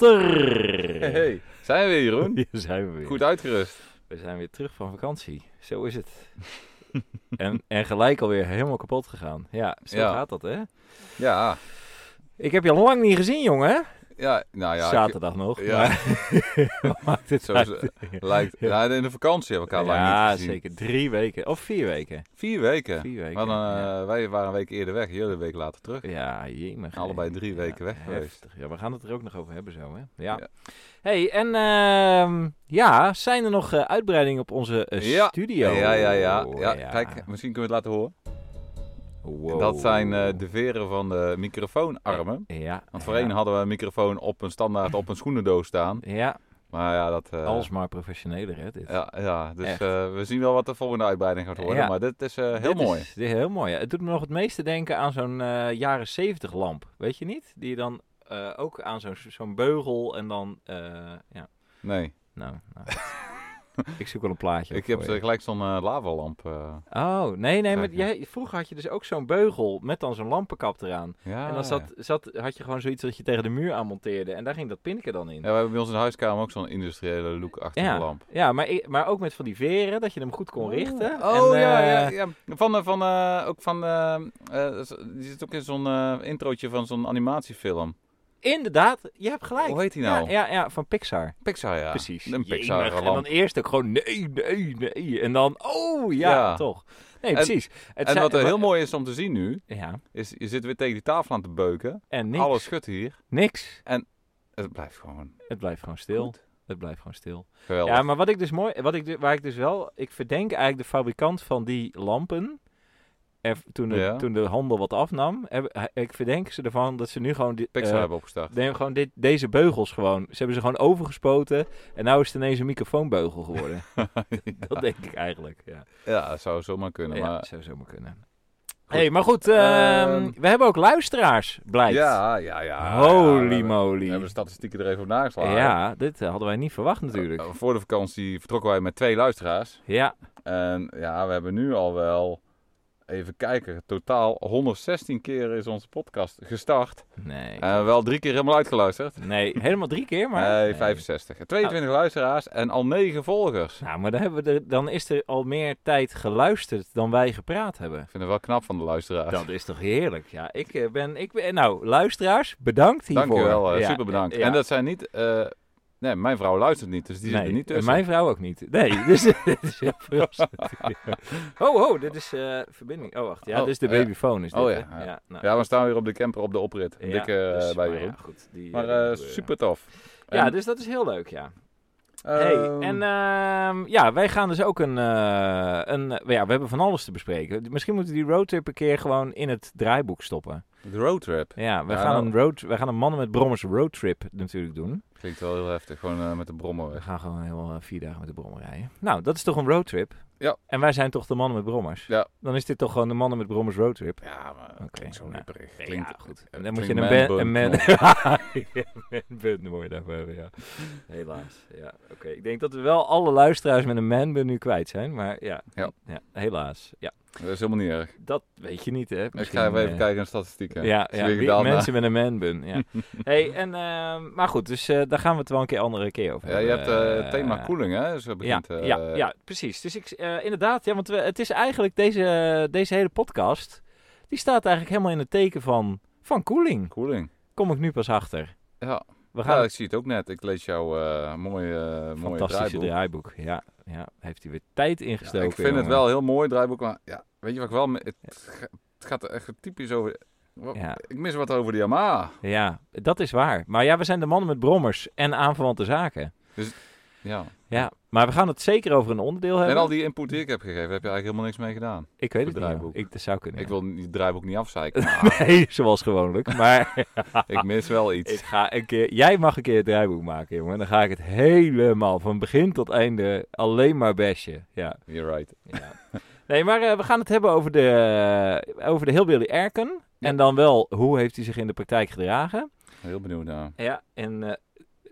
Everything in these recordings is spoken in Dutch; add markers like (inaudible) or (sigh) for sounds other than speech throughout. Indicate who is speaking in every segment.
Speaker 1: Walter!
Speaker 2: Hey, hey. zijn we weer, Jeroen?
Speaker 1: (laughs) Hier zijn we weer.
Speaker 2: Goed uitgerust.
Speaker 1: We zijn weer terug van vakantie. Zo is
Speaker 2: (laughs)
Speaker 1: het. en, en gelijk alweer helemaal kapot gegaan. Ja, zo
Speaker 2: Ja.
Speaker 1: gaat dat, hè?
Speaker 2: Ja,
Speaker 1: Ik heb je al lang niet gezien, jongen.
Speaker 2: ja, nou ja. ik-
Speaker 1: Zaterdag nog.
Speaker 2: ja.
Speaker 1: maar-
Speaker 2: (laughs)
Speaker 1: (laughs) Wat maakt het
Speaker 2: Zo
Speaker 1: uit?
Speaker 2: is-
Speaker 1: (laughs)
Speaker 2: lijkt, ja, in de vakantie hebben we elkaar lang
Speaker 1: ja,
Speaker 2: niet gezien.
Speaker 1: zeker. Drie weken. Of vier weken.
Speaker 2: Vier weken.
Speaker 1: Vier weken.
Speaker 2: Maar dan, eh,
Speaker 1: ja.
Speaker 2: Wij waren een week eerder weg, jullie een week later terug.
Speaker 1: Ja, jemig.
Speaker 2: Allebei
Speaker 1: hè.
Speaker 2: drie weken weg geweest.
Speaker 1: heftig. Ja, we gaan het er ook nog over hebben zo, hè? Ja.
Speaker 2: Ja.
Speaker 1: hey, en ehm, ja, zijn er nog eh, uitbreidingen op onze eh,
Speaker 2: Ja.
Speaker 1: studio? Oh,
Speaker 2: Ja, ja, ja, ja. Kijk, misschien kunnen we het laten horen.
Speaker 1: Wow.
Speaker 2: Dat zijn eh, de veren van de microfoonarmen.
Speaker 1: Ja.
Speaker 2: Want voorheen
Speaker 1: ja.
Speaker 2: hadden we een microfoon op een standaard op een schoenendoos staan.
Speaker 1: Ja,
Speaker 2: Maar ja, dat... eh,
Speaker 1: alsmaar professioneler, hè, dit.
Speaker 2: ja, ja, dus
Speaker 1: Echt.
Speaker 2: eh, we zien wel wat de volgende uitbreiding gaat worden.
Speaker 1: Ja.
Speaker 2: Maar dit is eh, heel
Speaker 1: Dit is-
Speaker 2: mooi.
Speaker 1: dit is heel mooi. ja. Het doet me nog het meeste denken aan zo'n eh, jaren 70 lamp, weet je niet? Die je dan eh, ook aan zo'n zo'n beugel en dan, eh, ja,
Speaker 2: Nee,
Speaker 1: nou,
Speaker 2: (laughs)
Speaker 1: nou. ik zoek wel een plaatje. op
Speaker 2: ik heb
Speaker 1: voor je.
Speaker 2: eh, gelijk zo'n eh, lavalamp. eh,
Speaker 1: Oh, nee, nee, maar
Speaker 2: Zeg maar.
Speaker 1: jij, vroeger had je dus ook zo'n beugel met dan zo'n lampenkap eraan.
Speaker 2: Ja.
Speaker 1: en dan zat, zat, had je gewoon zoiets dat je tegen de muur aan monteerde en daar ging dat pinneken dan in.
Speaker 2: Ja, we hebben bij ons in de huiskamer ook zo'n industriële look-achtige
Speaker 1: Ja,
Speaker 2: lamp.
Speaker 1: ja, maar, ik- maar ook met van die veren, dat je hem goed kon richten.
Speaker 2: Oh
Speaker 1: En,
Speaker 2: ja,
Speaker 1: eh,
Speaker 2: ja, ja. Van, eh, van, eh, ook van, eh, eh, z- die zit ook in zo'n eh, introotje van zo'n animatiefilm.
Speaker 1: Inderdaad, je hebt gelijk.
Speaker 2: Hoe heet die nou?
Speaker 1: Ja, ja, ja, van Pixar.
Speaker 2: Pixar, ja.
Speaker 1: Precies.
Speaker 2: Een
Speaker 1: Jemig.
Speaker 2: Pixar
Speaker 1: En dan
Speaker 2: lamp.
Speaker 1: eerst ook gewoon nee, nee, nee. En dan, oh ja,
Speaker 2: Ja.
Speaker 1: toch. Nee,
Speaker 2: En-
Speaker 1: precies. Het
Speaker 2: En
Speaker 1: zijn-
Speaker 2: wat er heel mooi is om te zien nu,
Speaker 1: Ja,
Speaker 2: is je zit weer tegen die tafel aan te beuken.
Speaker 1: en niks.
Speaker 2: Alles schudt hier.
Speaker 1: Niks.
Speaker 2: Het blijft gewoon
Speaker 1: Het blijft gewoon stil.
Speaker 2: goed.
Speaker 1: Het blijft gewoon stil.
Speaker 2: Geweldig.
Speaker 1: Ja, maar wat ik dus mooi, wat ik, du- waar ik dus wel, ik verdenk eigenlijk de fabrikant van die lampen. Er, toen, de,
Speaker 2: Ja.
Speaker 1: toen de handel wat afnam, heb- hij- ik verdenk ze ervan dat ze nu gewoon, dit,
Speaker 2: Pixar
Speaker 1: eh,
Speaker 2: hebben opgestart.
Speaker 1: neem gewoon dit, deze beugels gewoon. Ze hebben ze gewoon overgespoten en nou is het ineens een microfoonbeugel
Speaker 2: (laughs)
Speaker 1: geworden. (laughs) Dat denk ik eigenlijk. Ja,
Speaker 2: ja, dat zou zomaar kunnen.
Speaker 1: ja
Speaker 2: maar...
Speaker 1: zou zomaar kunnen.
Speaker 2: Goed.
Speaker 1: hey, maar goed, ehm,
Speaker 2: Ehm.
Speaker 1: we hebben ook luisteraars, blijkt.
Speaker 2: ja, ja, ja.
Speaker 1: Holy
Speaker 2: ja, we- We
Speaker 1: moly.
Speaker 2: hebben de statistieken er even op nageslagen.
Speaker 1: Ja, dit eh, hadden wij niet verwacht natuurlijk.
Speaker 2: Eh, Voor de vakantie vertrokken wij met twee luisteraars.
Speaker 1: Ja,
Speaker 2: En ja, we hebben nu al wel, even kijken, totaal 116 keer is onze podcast gestart.
Speaker 1: nee.
Speaker 2: En wel drie keer helemaal uitgeluisterd.
Speaker 1: Nee, helemaal drie keer, maar...
Speaker 2: nee,
Speaker 1: nee. Oh.
Speaker 2: 65. 22 luisteraars en al 9 volgers.
Speaker 1: Nou, maar dan, hebben we er, dan is er al meer tijd geluisterd dan wij gepraat hebben.
Speaker 2: Ik vind het wel knap van de luisteraars.
Speaker 1: Dat is toch heerlijk? Ja, ik eh, ben... Ik ben nou, luisteraars, bedankt hiervoor.
Speaker 2: Dankjewel, eh,
Speaker 1: Ja,
Speaker 2: super bedankt.
Speaker 1: ja.
Speaker 2: En dat zijn niet... eh, nee, mijn vrouw luistert niet, dus die zit
Speaker 1: Nee,
Speaker 2: er niet tussen.
Speaker 1: Mijn vrouw ook niet. Nee, (laughs) dus dit is heel verrassend.
Speaker 2: (laughs)
Speaker 1: Oh, oh, dit is eh, verbinding. Oh, wacht. Ja,
Speaker 2: Oh,
Speaker 1: dit is de
Speaker 2: ja.
Speaker 1: babyfoon. Is dit,
Speaker 2: Oh,
Speaker 1: hè?
Speaker 2: ja, ja.
Speaker 1: nou,
Speaker 2: Ja, we staan weer op de camper op de oprit.
Speaker 1: ja,
Speaker 2: Dikke eh,
Speaker 1: dus,
Speaker 2: bij
Speaker 1: maar
Speaker 2: Jeroen.
Speaker 1: ja, goed, die,
Speaker 2: Maar
Speaker 1: eh, die
Speaker 2: eh,
Speaker 1: gebeuren.
Speaker 2: super tof.
Speaker 1: Ja,
Speaker 2: En,
Speaker 1: dus dat is heel leuk, ja. Hey,
Speaker 2: ehm,
Speaker 1: en ehm, ja, wij gaan dus ook een, eh, een eh, ja, we hebben van alles te bespreken. Misschien moeten we die roadtrip een keer gewoon in het draaiboek stoppen.
Speaker 2: De roadtrip
Speaker 1: Ja, we
Speaker 2: Ja,
Speaker 1: gaan
Speaker 2: nou.
Speaker 1: een road, we gaan een mannen met brommers roadtrip natuurlijk doen.
Speaker 2: klinkt wel heel heftig, gewoon eh, met de brommer
Speaker 1: We
Speaker 2: weg.
Speaker 1: gaan gewoon heel eh, vier dagen met de brommer rijden. Nou, dat is toch een roadtrip?
Speaker 2: Ja.
Speaker 1: En wij zijn toch de mannen met brommers?
Speaker 2: Ja.
Speaker 1: Dan is dit toch gewoon de mannen met brommers roadtrip?
Speaker 2: Ja, maar het
Speaker 1: Oké,
Speaker 2: klinkt zo
Speaker 1: nou,
Speaker 2: ripperig.
Speaker 1: ja, goed. En dan moet
Speaker 2: klinkt
Speaker 1: je een
Speaker 2: man
Speaker 1: band... Een man
Speaker 2: bun,
Speaker 1: (laughs) band moet je daarvoor hebben, ja. Helaas, ja. Oké, ik denk dat we wel alle luisteraars met een man nu kwijt zijn, maar ja.
Speaker 2: Ja.
Speaker 1: helaas. Ja,
Speaker 2: Dat is helemaal niet
Speaker 1: (laughs)
Speaker 2: erg.
Speaker 1: dat weet je niet, hè.
Speaker 2: Ik
Speaker 1: Misschien,
Speaker 2: ga even,
Speaker 1: eh,
Speaker 2: kijken naar de statistieken.
Speaker 1: Ja,
Speaker 2: Is
Speaker 1: ja,
Speaker 2: weer
Speaker 1: wie-
Speaker 2: gedaan,
Speaker 1: mensen met een man-bun.
Speaker 2: (laughs)
Speaker 1: Ja. hey, en, ehm, maar goed, dus eh, daar gaan we het wel een keer andere keer over
Speaker 2: hè? Ja, je hebt
Speaker 1: hebben.
Speaker 2: eh, het thema
Speaker 1: Eh,
Speaker 2: koeling, hè? Dus het
Speaker 1: ja,
Speaker 2: begint, eh,
Speaker 1: ja, ja, precies. Dus ik, eh, inderdaad, ja, want we, het is eigenlijk deze, deze hele podcast, die staat eigenlijk helemaal in het teken van, van koeling.
Speaker 2: koeling.
Speaker 1: Kom ik nu pas achter.
Speaker 2: Ja.
Speaker 1: We gaan
Speaker 2: ja, ik zie het ook net. Ik lees jouw eh, mooie, eh,
Speaker 1: het
Speaker 2: mooie
Speaker 1: fantastische
Speaker 2: draaiboek.
Speaker 1: draaiboek. Ja, ja, heeft hij weer tijd
Speaker 2: Ja,
Speaker 1: ingestoken.
Speaker 2: ik vind het
Speaker 1: jongen.
Speaker 2: wel een heel mooi draaiboek, maar ja, weet je wat ik wel... me- Het, ga- het gaat echt typisch over... wa-
Speaker 1: Ja.
Speaker 2: Ik mis wat over de Yamaha.
Speaker 1: Ja, dat is waar. Maar ja, we zijn de mannen met brommers en aanverwante zaken.
Speaker 2: Ja.
Speaker 1: Ja, maar we gaan het zeker over een onderdeel hebben.
Speaker 2: En al die input die ik heb gegeven, heb je eigenlijk helemaal niks mee gedaan.
Speaker 1: Ik weet het niet.
Speaker 2: draaiboek.
Speaker 1: joh. Ik, dat zou kunnen. (laughs)
Speaker 2: Ik
Speaker 1: ja.
Speaker 2: wil Ah. die draaiboek niet afzeiken. maar
Speaker 1: Nee, zoals gewoonlijk.
Speaker 2: (laughs)
Speaker 1: Maar
Speaker 2: ik mis wel
Speaker 1: Ah, ik
Speaker 2: iets.
Speaker 1: ga een keer, jij mag een keer het draaiboek maken, jongen. Dan ga ik het helemaal van begin tot einde alleen maar bashen. Ja.
Speaker 2: You're right.
Speaker 1: ja. Nee, maar eh, we gaan het hebben over de, eh, over de Hillbilly Erken. En dan wel, hoe heeft hij zich in de praktijk gedragen?
Speaker 2: Heel benieuwd naar.
Speaker 1: Ja, en eh,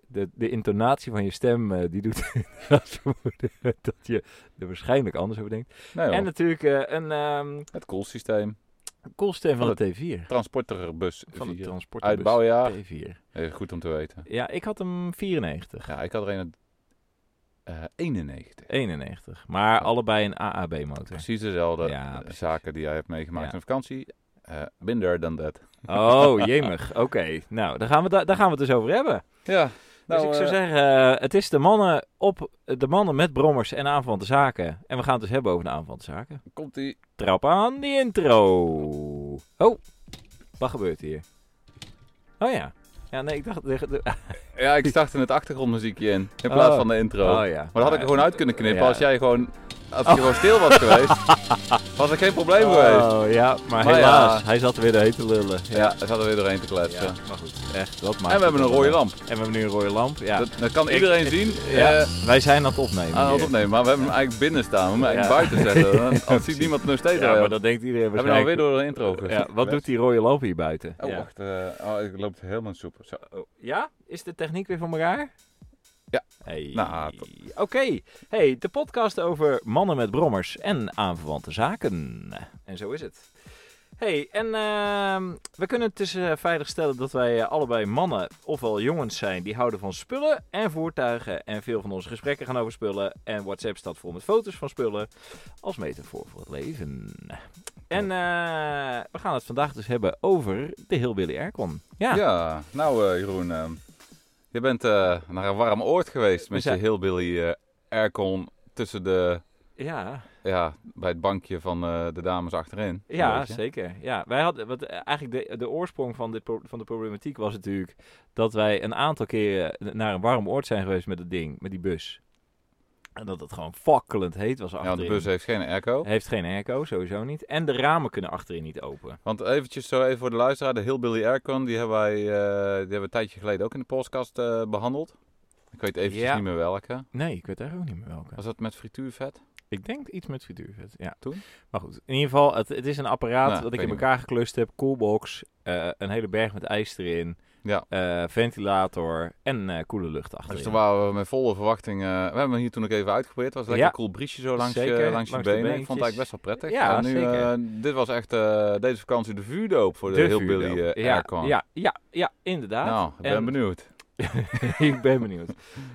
Speaker 1: de, de intonatie van je stem, eh, die doet (laughs) dat vermoeden dat je er waarschijnlijk anders over denkt.
Speaker 2: Nou, joh,
Speaker 1: En natuurlijk eh, een, ehm,
Speaker 2: het koelsysteem.
Speaker 1: Koolsteen van
Speaker 2: Van
Speaker 1: de T4.
Speaker 2: Transporterbus
Speaker 1: Van de
Speaker 2: 4.
Speaker 1: transportbus
Speaker 2: Uitbouwjaar.
Speaker 1: T4.
Speaker 2: Even goed om te weten.
Speaker 1: Ja, ik had hem 94,
Speaker 2: Ja, ik had er een uit, eh 91.
Speaker 1: 91. Maar allebei een AAB-motor.
Speaker 2: Precies dezelfde
Speaker 1: Ja,
Speaker 2: eh,
Speaker 1: precies.
Speaker 2: zaken die jij hebt meegemaakt
Speaker 1: Ja.
Speaker 2: in vakantie. Eh binder dan dat.
Speaker 1: Oh, jemig. Oké, nou, daar gaan, we da- daar gaan we het dus over hebben.
Speaker 2: Ja. Nou,
Speaker 1: dus ik zou
Speaker 2: eh,
Speaker 1: zeggen, eh, het is de mannen, op, de mannen met brommers en aanverwante zaken. En we gaan het dus hebben over de aanverwante zaken.
Speaker 2: komt die.
Speaker 1: Trap aan die intro. Oh, wat gebeurt hier? Oh ja. Ja, nee, ik dacht... de- de-
Speaker 2: Ja, ik startte het achtergrondmuziekje in in plaats
Speaker 1: Oh.
Speaker 2: van de intro.
Speaker 1: Oh ja.
Speaker 2: Maar dat had ik er gewoon uit kunnen knippen
Speaker 1: Ja.
Speaker 2: als jij gewoon, als je gewoon stil
Speaker 1: (laughs)
Speaker 2: was geweest. Was er geen probleem geweest.
Speaker 1: Oh ja, maar,
Speaker 2: Maar
Speaker 1: helaas.
Speaker 2: ja.
Speaker 1: Hij zat weer de heen te lullen.
Speaker 2: Ja, er zat er weer doorheen te kletsen.
Speaker 1: Ja, maar goed. Echt, dat maakt
Speaker 2: en we hebben
Speaker 1: het
Speaker 2: een
Speaker 1: wel.
Speaker 2: rode lamp.
Speaker 1: En we hebben nu een rode lamp. Ja.
Speaker 2: Dat, dat kan
Speaker 1: Ik-
Speaker 2: iedereen
Speaker 1: ik-
Speaker 2: zien
Speaker 1: Ja,
Speaker 2: eh,
Speaker 1: wij zijn aan het opnemen.
Speaker 2: aan het
Speaker 1: hier.
Speaker 2: opnemen. Maar we hebben hem eigenlijk binnen staan. We hebben hem
Speaker 1: Ja.
Speaker 2: eigenlijk buiten zetten. (laughs) Dan- Anders
Speaker 1: precies.
Speaker 2: ziet niemand het nog steeds.
Speaker 1: Ja,
Speaker 2: wel.
Speaker 1: maar dat denkt iedereen
Speaker 2: we hebben nou weer
Speaker 1: waarschijnlijk.
Speaker 2: door de intro
Speaker 1: Ja, wat doet die rode lamp hier buiten?
Speaker 2: Oh,
Speaker 1: ja.
Speaker 2: wacht. eh, oh, ik loop helemaal in soep. Zo.
Speaker 1: Oh, ja? Is de techniek weer van elkaar?
Speaker 2: Ja.
Speaker 1: Hey.
Speaker 2: Nou, dat-
Speaker 1: Oké. Hey, de podcast over mannen met brommers en aanverwante zaken. En zo is het. Hey, en ehm, we kunnen het dus eh, veilig stellen dat wij eh, allebei mannen, ofwel jongens zijn, die houden van spullen en voertuigen. En veel van onze gesprekken gaan over spullen. En WhatsApp staat vol met foto's van spullen als metafoor voor het leven. En eh, we gaan het vandaag dus hebben over de heel Billy Aircon. Ja,
Speaker 2: Ja. nou eh, Jeroen. eh, je bent eh, naar een warm oord geweest met
Speaker 1: zijn-
Speaker 2: je heel Billy eh aircon tussen de...
Speaker 1: ja.
Speaker 2: Ja, bij het bankje van eh, de dames achterin. Een
Speaker 1: Ja,
Speaker 2: beetje.
Speaker 1: zeker. Ja, wij hadden, wat, eh, eigenlijk de, de oorsprong van, dit pro- van de problematiek was natuurlijk dat wij een aantal keren naar een warm oord zijn geweest met dat ding, met die bus. En dat het gewoon fakkelend heet was
Speaker 2: Ja, want
Speaker 1: achterin.
Speaker 2: de bus heeft geen airco.
Speaker 1: heeft geen airco, sowieso niet. En de ramen kunnen achterin niet open.
Speaker 2: Want eventjes zo even voor de luisteraar, de heel Billy Aircon, die hebben wij eh, die hebben we een tijdje geleden ook in de podcast eh, behandeld. Ik weet eventjes
Speaker 1: Ja.
Speaker 2: niet meer welke.
Speaker 1: Nee, ik weet eigenlijk ook niet meer welke.
Speaker 2: Was dat met frituurvet?
Speaker 1: Ik denk iets met frituurvet, ja.
Speaker 2: Toen?
Speaker 1: Maar goed, in ieder geval, het, het is een apparaat
Speaker 2: Nou,
Speaker 1: dat
Speaker 2: ik
Speaker 1: ik in
Speaker 2: weet
Speaker 1: elkaar geklust heb. Coolbox, eh, een hele berg met ijs erin,
Speaker 2: Ja.
Speaker 1: eh, ventilator en eh, koele lucht achterin.
Speaker 2: Dus toen waren we met volle verwachting. eh, we hebben hem hier toen ook even uitgeprobeerd. Het was een lekker
Speaker 1: Ja.
Speaker 2: cool briesje zo langs, je,
Speaker 1: Zeker,
Speaker 2: langs je
Speaker 1: langs de
Speaker 2: benen. Ik vond het
Speaker 1: beentjes.
Speaker 2: eigenlijk best wel prettig.
Speaker 1: Ja,
Speaker 2: En nu,
Speaker 1: zeker.
Speaker 2: eh, dit was echt eh, deze vakantie de vuurdoop voor de, heel
Speaker 1: vuurdoop.
Speaker 2: Billy eh,
Speaker 1: ja,
Speaker 2: Aircon.
Speaker 1: Ja, ja, ja, inderdaad.
Speaker 2: Nou, ik ben
Speaker 1: En-
Speaker 2: benieuwd.
Speaker 1: (laughs) ik ben benieuwd.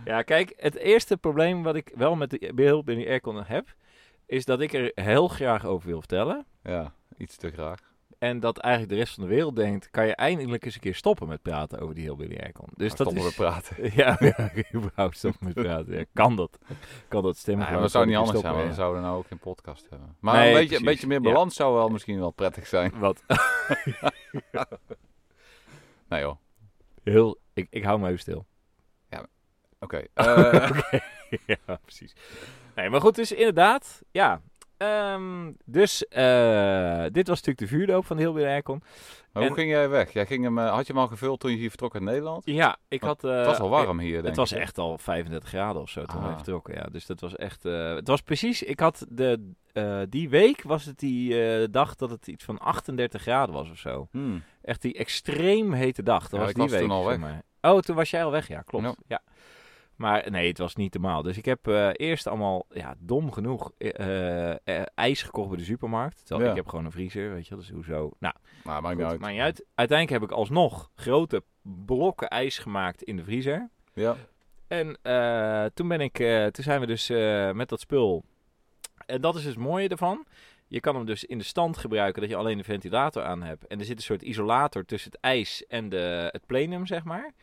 Speaker 1: Ja, kijk, het eerste probleem wat ik wel met de behulp in die aircon heb, is dat ik er heel graag over wil vertellen.
Speaker 2: Ja, iets te graag.
Speaker 1: Dus En dat eigenlijk de rest van de wereld denkt, kan je eindelijk eens een keer stoppen met praten over die heel Billy Aircon. Dus dat
Speaker 2: Maar stoppen
Speaker 1: is...
Speaker 2: we praten.
Speaker 1: (laughs) Ja, ja, überhaupt stoppen met praten. Ja, kan dat? Kan dat stemmen?
Speaker 2: Ja, dat zou niet anders zijn, want dan zouden we nou ook een podcast hebben. Maar
Speaker 1: Nee,
Speaker 2: een, beetje, een
Speaker 1: precies.
Speaker 2: beetje meer
Speaker 1: Ja.
Speaker 2: balans zou wel misschien wel prettig zijn.
Speaker 1: Wat
Speaker 2: Nee joh,
Speaker 1: heel... Ik, ik hou me even stil. (laughs)
Speaker 2: oké. Eh,
Speaker 1: ja, precies. Nee, maar goed, dus inderdaad, ja. Ehm, dus eh, dit was natuurlijk de vuurdoop van de heel Aircon.
Speaker 2: maar hoe
Speaker 1: En-
Speaker 2: ging jij weg? Jij ging hem, eh, had je hem al gevuld toen je hier vertrok uit Nederland?
Speaker 1: Ja, ik had... eh,
Speaker 2: het was al warm hier, denk
Speaker 1: Het was
Speaker 2: ik.
Speaker 1: echt al 35 graden of zo toen
Speaker 2: Ah.
Speaker 1: we vertrokken, ja. Dus dat was echt... eh, het was precies... Ik had de... eh, die week was het die eh, dag dat het iets van 38 graden was of zo.
Speaker 2: Hmm.
Speaker 1: Echt die extreem hete dag. Dat
Speaker 2: Ja,
Speaker 1: was
Speaker 2: ik
Speaker 1: die
Speaker 2: was
Speaker 1: week.
Speaker 2: toen al
Speaker 1: zeg
Speaker 2: weg.
Speaker 1: maar. Oh, toen was jij al weg, ja, klopt.
Speaker 2: Ja.
Speaker 1: Ja. Maar nee, het was niet normaal. Dus ik heb eh, eerst allemaal, ja, dom genoeg, eh, eh, eh, ijs gekocht bij de supermarkt. Terwijl
Speaker 2: Ja.
Speaker 1: ik heb gewoon een vriezer, weet je wel, dus hoezo. Nou,
Speaker 2: Nou, maakt niet
Speaker 1: goed,
Speaker 2: uit.
Speaker 1: maakt niet uit. Uiteindelijk heb ik alsnog grote blokken ijs gemaakt in de vriezer.
Speaker 2: Ja.
Speaker 1: En eh, toen, ben ik, eh, toen zijn we dus eh, met dat spul. En dat is dus het mooie ervan. Je kan hem dus in de stand gebruiken dat je alleen de ventilator aan hebt. En er zit een soort isolator tussen het ijs en de, het plenum, zeg maar.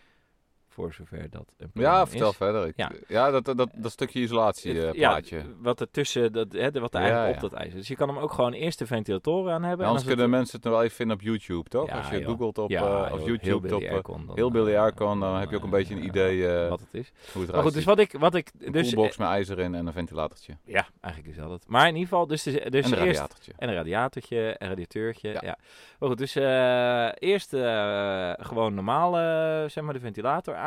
Speaker 1: Voor zover dat een plenum
Speaker 2: ja,
Speaker 1: is.
Speaker 2: vertel verder. Ik- ja,
Speaker 1: Ja.
Speaker 2: dat, dat, dat, dat stukje isolatie eh
Speaker 1: Het-
Speaker 2: plaatje.
Speaker 1: Ja, wat er tussen, dat, hè, de- wat er
Speaker 2: Ja,
Speaker 1: eigenlijk
Speaker 2: ja.
Speaker 1: op dat ijs is. Dus je kan hem ook gewoon eerst de ventilatoren aan hebben.
Speaker 2: Ja, anders
Speaker 1: en als
Speaker 2: kunnen mensen het nog wel even vinden op YouTube, toch?
Speaker 1: Ja,
Speaker 2: Als je
Speaker 1: joh.
Speaker 2: googelt op,
Speaker 1: het-
Speaker 2: eh,
Speaker 1: Ja,
Speaker 2: of
Speaker 1: joh,
Speaker 2: YouTube
Speaker 1: heel Billy
Speaker 2: op eh,
Speaker 1: Aircon, dan,
Speaker 2: heel Billy
Speaker 1: eh,
Speaker 2: Aircon, dan heb je ook een beetje een
Speaker 1: eh,
Speaker 2: idee, eh,
Speaker 1: wat het is.
Speaker 2: hoe het
Speaker 1: Maar goed, dus wat ik... Wat ik
Speaker 2: Een
Speaker 1: dus, eh,
Speaker 2: koelbox met ijzer in en een ventilatortje.
Speaker 1: Ja, eigenlijk is dat het. Maar in ieder geval, dus, dus
Speaker 2: en een
Speaker 1: eerst...
Speaker 2: radiatortje.
Speaker 1: En een radiatortje, een radiateurtje.
Speaker 2: Ja.
Speaker 1: Ja. Maar goed, dus eh, eerst eh, gewoon normaal eh, zeg maar de ventilator aan.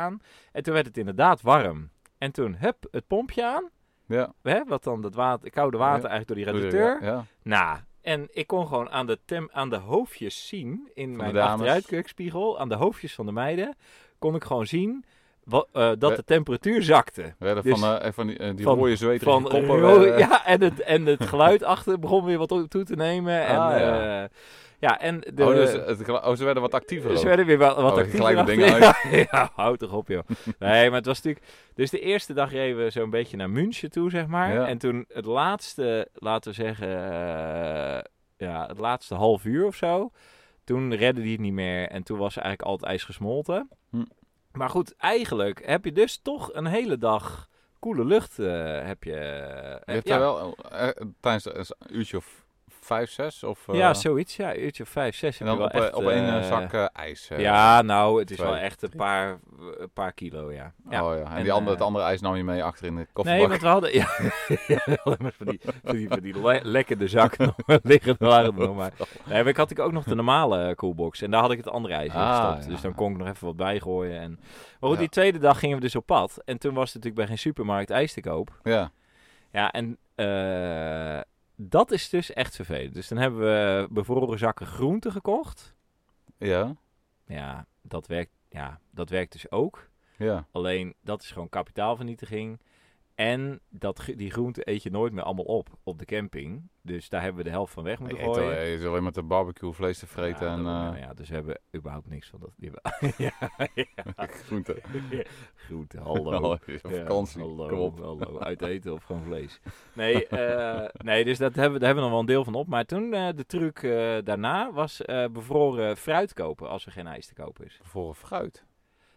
Speaker 1: En toen werd het inderdaad warm. En toen hup, het pompje aan.
Speaker 2: Ja.
Speaker 1: Hè, wat dan dat water, koude water
Speaker 2: Ja.
Speaker 1: eigenlijk door die radiateur.
Speaker 2: Ja.
Speaker 1: Nou, en ik kon gewoon aan de, tem, aan de hoofdjes zien in
Speaker 2: de
Speaker 1: mijn
Speaker 2: dames.
Speaker 1: achteruitkeukspiegel, aan de hoofdjes van de meiden, kon ik gewoon zien wa- eh, dat de temperatuur zakte.
Speaker 2: We hadden
Speaker 1: Dus-
Speaker 2: van, eh, van die, eh, die
Speaker 1: van-
Speaker 2: rode zweterige
Speaker 1: Van
Speaker 2: koppen.
Speaker 1: ro-
Speaker 2: eh,
Speaker 1: (laughs) ja, en, het, en het geluid achter begon weer wat toe te nemen. En,
Speaker 2: Ah,
Speaker 1: ja.
Speaker 2: ja.
Speaker 1: ja, en de,
Speaker 2: oh, dus het, gelu- oh, ze werden wat actiever.
Speaker 1: Ze
Speaker 2: ook.
Speaker 1: werden weer wat, wat
Speaker 2: Oh,
Speaker 1: actiever
Speaker 2: gelijk de
Speaker 1: achter- ja, (laughs)
Speaker 2: dingen
Speaker 1: ja, houd toch op, joh. Nee, maar het was natuurlijk... Dus de eerste dag reden we zo'n beetje naar München toe, zeg maar.
Speaker 2: Ja.
Speaker 1: En toen het laatste, laten we zeggen... eh, ja, het laatste half uur of zo. Toen redde die het niet meer. En toen was eigenlijk al het ijs gesmolten.
Speaker 2: Hm.
Speaker 1: Maar goed, eigenlijk heb je dus toch een hele dag koele lucht eh, heb je...
Speaker 2: Je
Speaker 1: eh,
Speaker 2: hebt
Speaker 1: ja.
Speaker 2: daar wel eh, eh, tijdens een uurtje of vijf, zes? Of, eh,
Speaker 1: ja, zoiets. Ja, een uurtje of vijf, zes.
Speaker 2: En
Speaker 1: heb
Speaker 2: dan
Speaker 1: je
Speaker 2: op,
Speaker 1: wel
Speaker 2: eh,
Speaker 1: echt,
Speaker 2: op één eh,
Speaker 1: eh,
Speaker 2: zak eh, ijs. eh.
Speaker 1: Ja, nou, het is
Speaker 2: Twee.
Speaker 1: wel echt een paar, een paar kilo, ja. ja.
Speaker 2: Oh, ja. En,
Speaker 1: En,
Speaker 2: die andere,
Speaker 1: eh,
Speaker 2: het andere ijs nam je mee achter in de
Speaker 1: nee,
Speaker 2: kofferbak.
Speaker 1: want we hadden... (laughs) Ja, maar van die, van die, van die le- lekkende zak (laughs) nog maar liggen waren er nog maar. Nee, maar ik had natuurlijk ook nog de normale eh, coolbox. En daar had ik het andere ijs in
Speaker 2: Ah,
Speaker 1: gestopt.
Speaker 2: ja.
Speaker 1: Dus dan kon ik nog even wat bijgooien. En... Maar goed,
Speaker 2: Ja.
Speaker 1: die tweede dag gingen we dus op pad. En toen was er natuurlijk bij geen supermarkt ijs te koop.
Speaker 2: Ja.
Speaker 1: Ja, en eh, dat is dus echt vervelend. Dus dan hebben we bevroren zakken groenten gekocht.
Speaker 2: Ja.
Speaker 1: Ja, dat werkt, ja, dat werkt dus ook.
Speaker 2: Ja.
Speaker 1: Alleen dat is gewoon kapitaalvernietiging. En dat, gro- die groente eet je nooit meer allemaal op op de camping. Dus daar hebben we de helft van weg
Speaker 2: Je,
Speaker 1: moeten
Speaker 2: eet, al-
Speaker 1: gooien.
Speaker 2: je zit alleen met de barbecue vlees te vreten
Speaker 1: ja,
Speaker 2: en
Speaker 1: daarom,
Speaker 2: eh
Speaker 1: ja, dus we hebben überhaupt niks van dat. Die
Speaker 2: (laughs)
Speaker 1: hebben- ja, ja.
Speaker 2: groenten.
Speaker 1: Groente,
Speaker 2: (laughs)
Speaker 1: hallo.
Speaker 2: Op
Speaker 1: Ja,
Speaker 2: Oh, vakantie.
Speaker 1: hallo,
Speaker 2: Kom op.
Speaker 1: hallo. Uit eten of gewoon
Speaker 2: (laughs)
Speaker 1: vlees. Nee, eh, nee dus dat hebben, we- daar hebben we nog wel een deel van op. Maar toen eh, de truc eh, daarna was eh, bevroren fruit kopen als er geen ijs te kopen is.
Speaker 2: Voor fruit.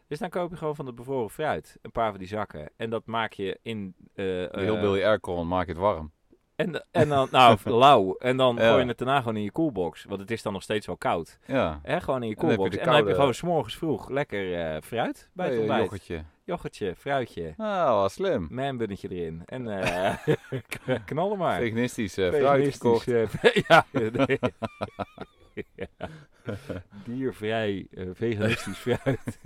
Speaker 1: Dus dan koop je gewoon van het bevroren fruit een paar van die zakken. En dat maak je in... eh, eh,
Speaker 2: Heel Billy Aircon, maak het warm.
Speaker 1: En, en dan, nou,
Speaker 2: (laughs)
Speaker 1: lauw. En dan
Speaker 2: Ja.
Speaker 1: gooi je het daarna gewoon in je koelbox. Want het is dan nog steeds wel koud.
Speaker 2: Ja.
Speaker 1: Hè? Gewoon in je
Speaker 2: En dan heb je
Speaker 1: koelbox. En,
Speaker 2: de
Speaker 1: dan heb je
Speaker 2: koude-
Speaker 1: gewoon s'morgens vroeg lekker eh, fruit bij het
Speaker 2: Hey,
Speaker 1: ontbijt. Yoghurtje.
Speaker 2: yoghurtje.
Speaker 1: fruitje,
Speaker 2: Ah, wat slim.
Speaker 1: manbunnetje erin. En eh,
Speaker 2: (laughs)
Speaker 1: (laughs) k- knallen maar.
Speaker 2: Veganistisch eh, fruit
Speaker 1: Veganistisch,
Speaker 2: gekocht.
Speaker 1: eh, (laughs) ja.
Speaker 2: (laughs)
Speaker 1: nee. Ja. Diervrij, eh, veganistisch
Speaker 2: (laughs)
Speaker 1: fruit.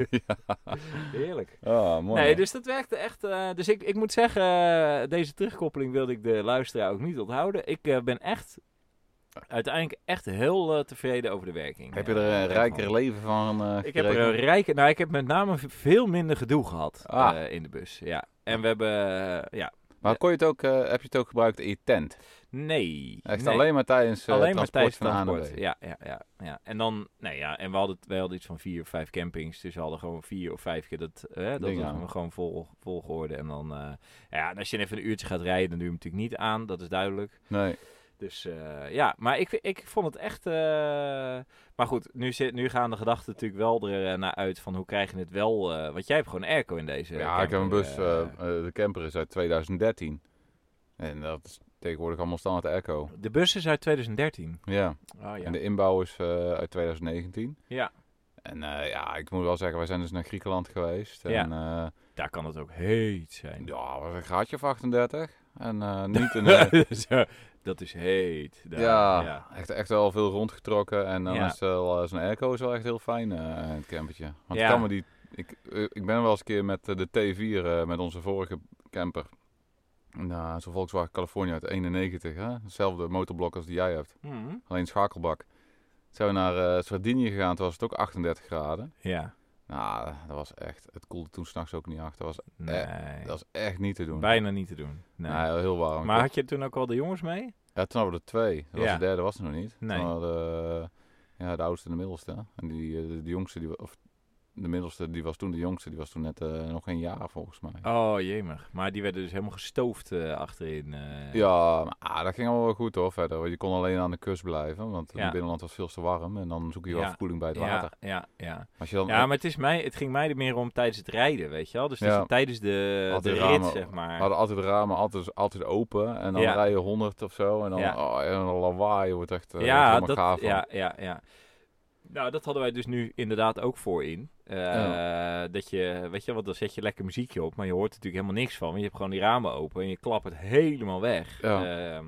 Speaker 1: Heerlijk.
Speaker 2: Ah, mooi.
Speaker 1: Nee, dus dat werkte echt. eh, dus ik, ik moet zeggen, eh, deze terugkoppeling wilde ik de luisteraar ook niet onthouden. Ik eh, ben echt uiteindelijk echt heel eh, tevreden over de werking.
Speaker 2: Heb je
Speaker 1: eh,
Speaker 2: er een
Speaker 1: daarvan.
Speaker 2: rijker leven van eh
Speaker 1: Ik heb er
Speaker 2: gekregen?
Speaker 1: een rijke. Nou, ik heb met name v- veel minder gedoe gehad
Speaker 2: Ah.
Speaker 1: eh, in de bus. Ja. En we hebben. eh, ja.
Speaker 2: Maar kon je het ook, eh, heb je het ook gebruikt in je tent?
Speaker 1: Nee.
Speaker 2: Echt
Speaker 1: nee.
Speaker 2: alleen maar tijdens eh
Speaker 1: Alleen maar
Speaker 2: transport
Speaker 1: tijdens
Speaker 2: van A naar
Speaker 1: transport.
Speaker 2: B?
Speaker 1: Ja, ja, ja, ja. En dan, nee, ja, en we hadden, we hadden iets van vier of vijf campings. Dus we hadden gewoon vier of vijf keer dat, eh, dat
Speaker 2: Ding
Speaker 1: was
Speaker 2: aan.
Speaker 1: gewoon vol, volgehoorde. En dan, eh, ja, en als je even een uurtje gaat rijden, dan doe je hem natuurlijk niet aan. Dat is duidelijk.
Speaker 2: Nee.
Speaker 1: Dus eh, ja, maar ik, ik vond het echt... eh, Maar goed, nu, zit, nu gaan de gedachten natuurlijk wel er eh, naar uit van hoe krijg je het wel... eh, want jij hebt gewoon airco in deze
Speaker 2: Ja,
Speaker 1: camper,
Speaker 2: ik heb een bus.
Speaker 1: eh,
Speaker 2: eh, eh, de camper is uit 2013. En dat is tegenwoordig allemaal standaard airco.
Speaker 1: de bus is uit 2013.
Speaker 2: Ah, Ja.
Speaker 1: Oh, ja.
Speaker 2: En de inbouw is eh, uit 2019.
Speaker 1: ja,
Speaker 2: En eh, ja, ik moet wel zeggen, wij zijn dus naar Griekenland geweest. En,
Speaker 1: Ja.
Speaker 2: eh,
Speaker 1: daar kan het ook heet zijn.
Speaker 2: ja, was een graadje of 38.
Speaker 1: (laughs)
Speaker 2: En eh, niet (laughs) een... eh,
Speaker 1: Zo, dat is heet. daar.
Speaker 2: ja,
Speaker 1: ja.
Speaker 2: Echt, echt wel veel rondgetrokken. En dan
Speaker 1: Ja.
Speaker 2: is wel, eh, zo'n airco is wel echt heel fijn, eh het campertje. Want
Speaker 1: Ja.
Speaker 2: ik kan me die... Ik, eh, ik ben wel eens een keer met eh, de T4, eh, met onze vorige camper. Nou, zo'n Volkswagen California uit 91, hè? Hetzelfde motorblok als die jij hebt.
Speaker 1: Mhm.
Speaker 2: Alleen schakelbak. Zijn we naar eh Sardinië gegaan, toen was het ook 38 graden.
Speaker 1: Ja.
Speaker 2: Nou, dat was echt... Het koelde toen s'nachts ook niet achter. Dat was,
Speaker 1: Nee.
Speaker 2: Eh, dat was echt niet te doen.
Speaker 1: Bijna niet te doen. Nee.
Speaker 2: Nee, heel warm. Ik
Speaker 1: maar had je toen ook al de jongens mee?
Speaker 2: ja, toen hadden we er twee. Dat was
Speaker 1: Ja.
Speaker 2: de derde was er nog niet.
Speaker 1: Nee.
Speaker 2: Toen hadden we, eh, ja, de oudste en de middelste. En die, eh, de, de jongste, die, wa- of de middelste, die was toen de jongste. Die was toen net eh, nog geen jaar volgens mij.
Speaker 1: Oh, jemig. Maar die werden dus helemaal gestoofd eh, achterin. eh.
Speaker 2: Ja, maar ah, dat ging allemaal wel goed hoor verder. Want je kon alleen aan de kust blijven, want in
Speaker 1: Ja.
Speaker 2: het binnenland was veel te warm. En dan zoek je wel
Speaker 1: Ja.
Speaker 2: verkoeling bij het
Speaker 1: ja,
Speaker 2: water.
Speaker 1: ja, ja.
Speaker 2: Als je dan,
Speaker 1: Ja, maar het, is mij, het ging mij er meer om tijdens het rijden, weet je wel? Dus, dus
Speaker 2: Ja.
Speaker 1: tijdens de,
Speaker 2: Had
Speaker 1: de
Speaker 2: die
Speaker 1: rit,
Speaker 2: ramen-
Speaker 1: zeg maar.
Speaker 2: We hadden altijd de ramen altijd, altijd open. En dan
Speaker 1: Ja.
Speaker 2: rij je 100 of zo. En dan,
Speaker 1: Ja.
Speaker 2: oh, en dan lawaai wordt echt eh, wordt
Speaker 1: ja,
Speaker 2: helemaal
Speaker 1: dat,
Speaker 2: gaaf. van.
Speaker 1: ja, ja, ja. Nou, dat hadden wij dus nu inderdaad ook voor in. Eh, Dat je, weet je, want dan zet je lekker muziekje op, maar je hoort er natuurlijk helemaal niks van. Want je hebt gewoon die ramen open en je klapt het helemaal weg.
Speaker 2: Ja.
Speaker 1: Ehm,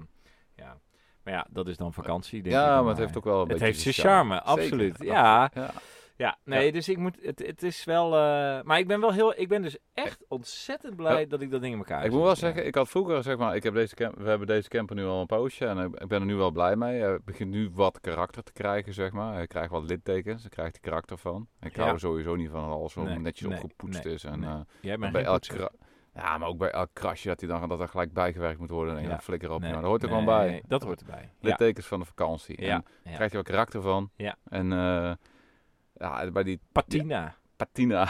Speaker 1: ja. Maar ja, dat is dan vakantie, denk ik.
Speaker 2: Ja,
Speaker 1: dan
Speaker 2: maar het heeft ook wel een
Speaker 1: Het
Speaker 2: beetje
Speaker 1: heeft zijn charme,
Speaker 2: Zeker,
Speaker 1: absoluut.
Speaker 2: absoluut.
Speaker 1: Ja,
Speaker 2: Ja.
Speaker 1: Ja, nee, dus ik moet, het, het is wel, eh, maar ik ben wel heel, ik ben dus echt ontzettend blij dat ik dat ding in elkaar
Speaker 2: Ik
Speaker 1: heb
Speaker 2: moet wel
Speaker 1: gezet,
Speaker 2: zeggen,
Speaker 1: ja.
Speaker 2: ik had vroeger zeg maar, ik heb deze camp- we hebben deze camper nu al een poosje en eh, ik ben er nu wel blij mee. Eh, Het begint nu wat karakter te krijgen, zeg maar. Hij krijgt wat littekens, hij krijgt die karakter van. Ik hou
Speaker 1: Ja.
Speaker 2: er sowieso niet van als alles zo
Speaker 1: Nee,
Speaker 2: netjes
Speaker 1: nee,
Speaker 2: opgepoetst
Speaker 1: nee,
Speaker 2: is. En,
Speaker 1: nee.
Speaker 2: eh,
Speaker 1: Jij bent
Speaker 2: bij
Speaker 1: geen
Speaker 2: elk
Speaker 1: poetser.
Speaker 2: kra- ja, maar ook bij elk krasje dat hij dan dat er gelijk bijgewerkt moet worden en
Speaker 1: Ja.
Speaker 2: een flikker op.
Speaker 1: Nee,
Speaker 2: nou, dat hoort er
Speaker 1: nee,
Speaker 2: gewoon bij.
Speaker 1: Dat hoort erbij. Ja,
Speaker 2: Littekens van de vakantie. En
Speaker 1: ja, ja.
Speaker 2: krijgt hij wel karakter van.
Speaker 1: Ja.
Speaker 2: En eh, ja, bij die
Speaker 1: patina
Speaker 2: patina.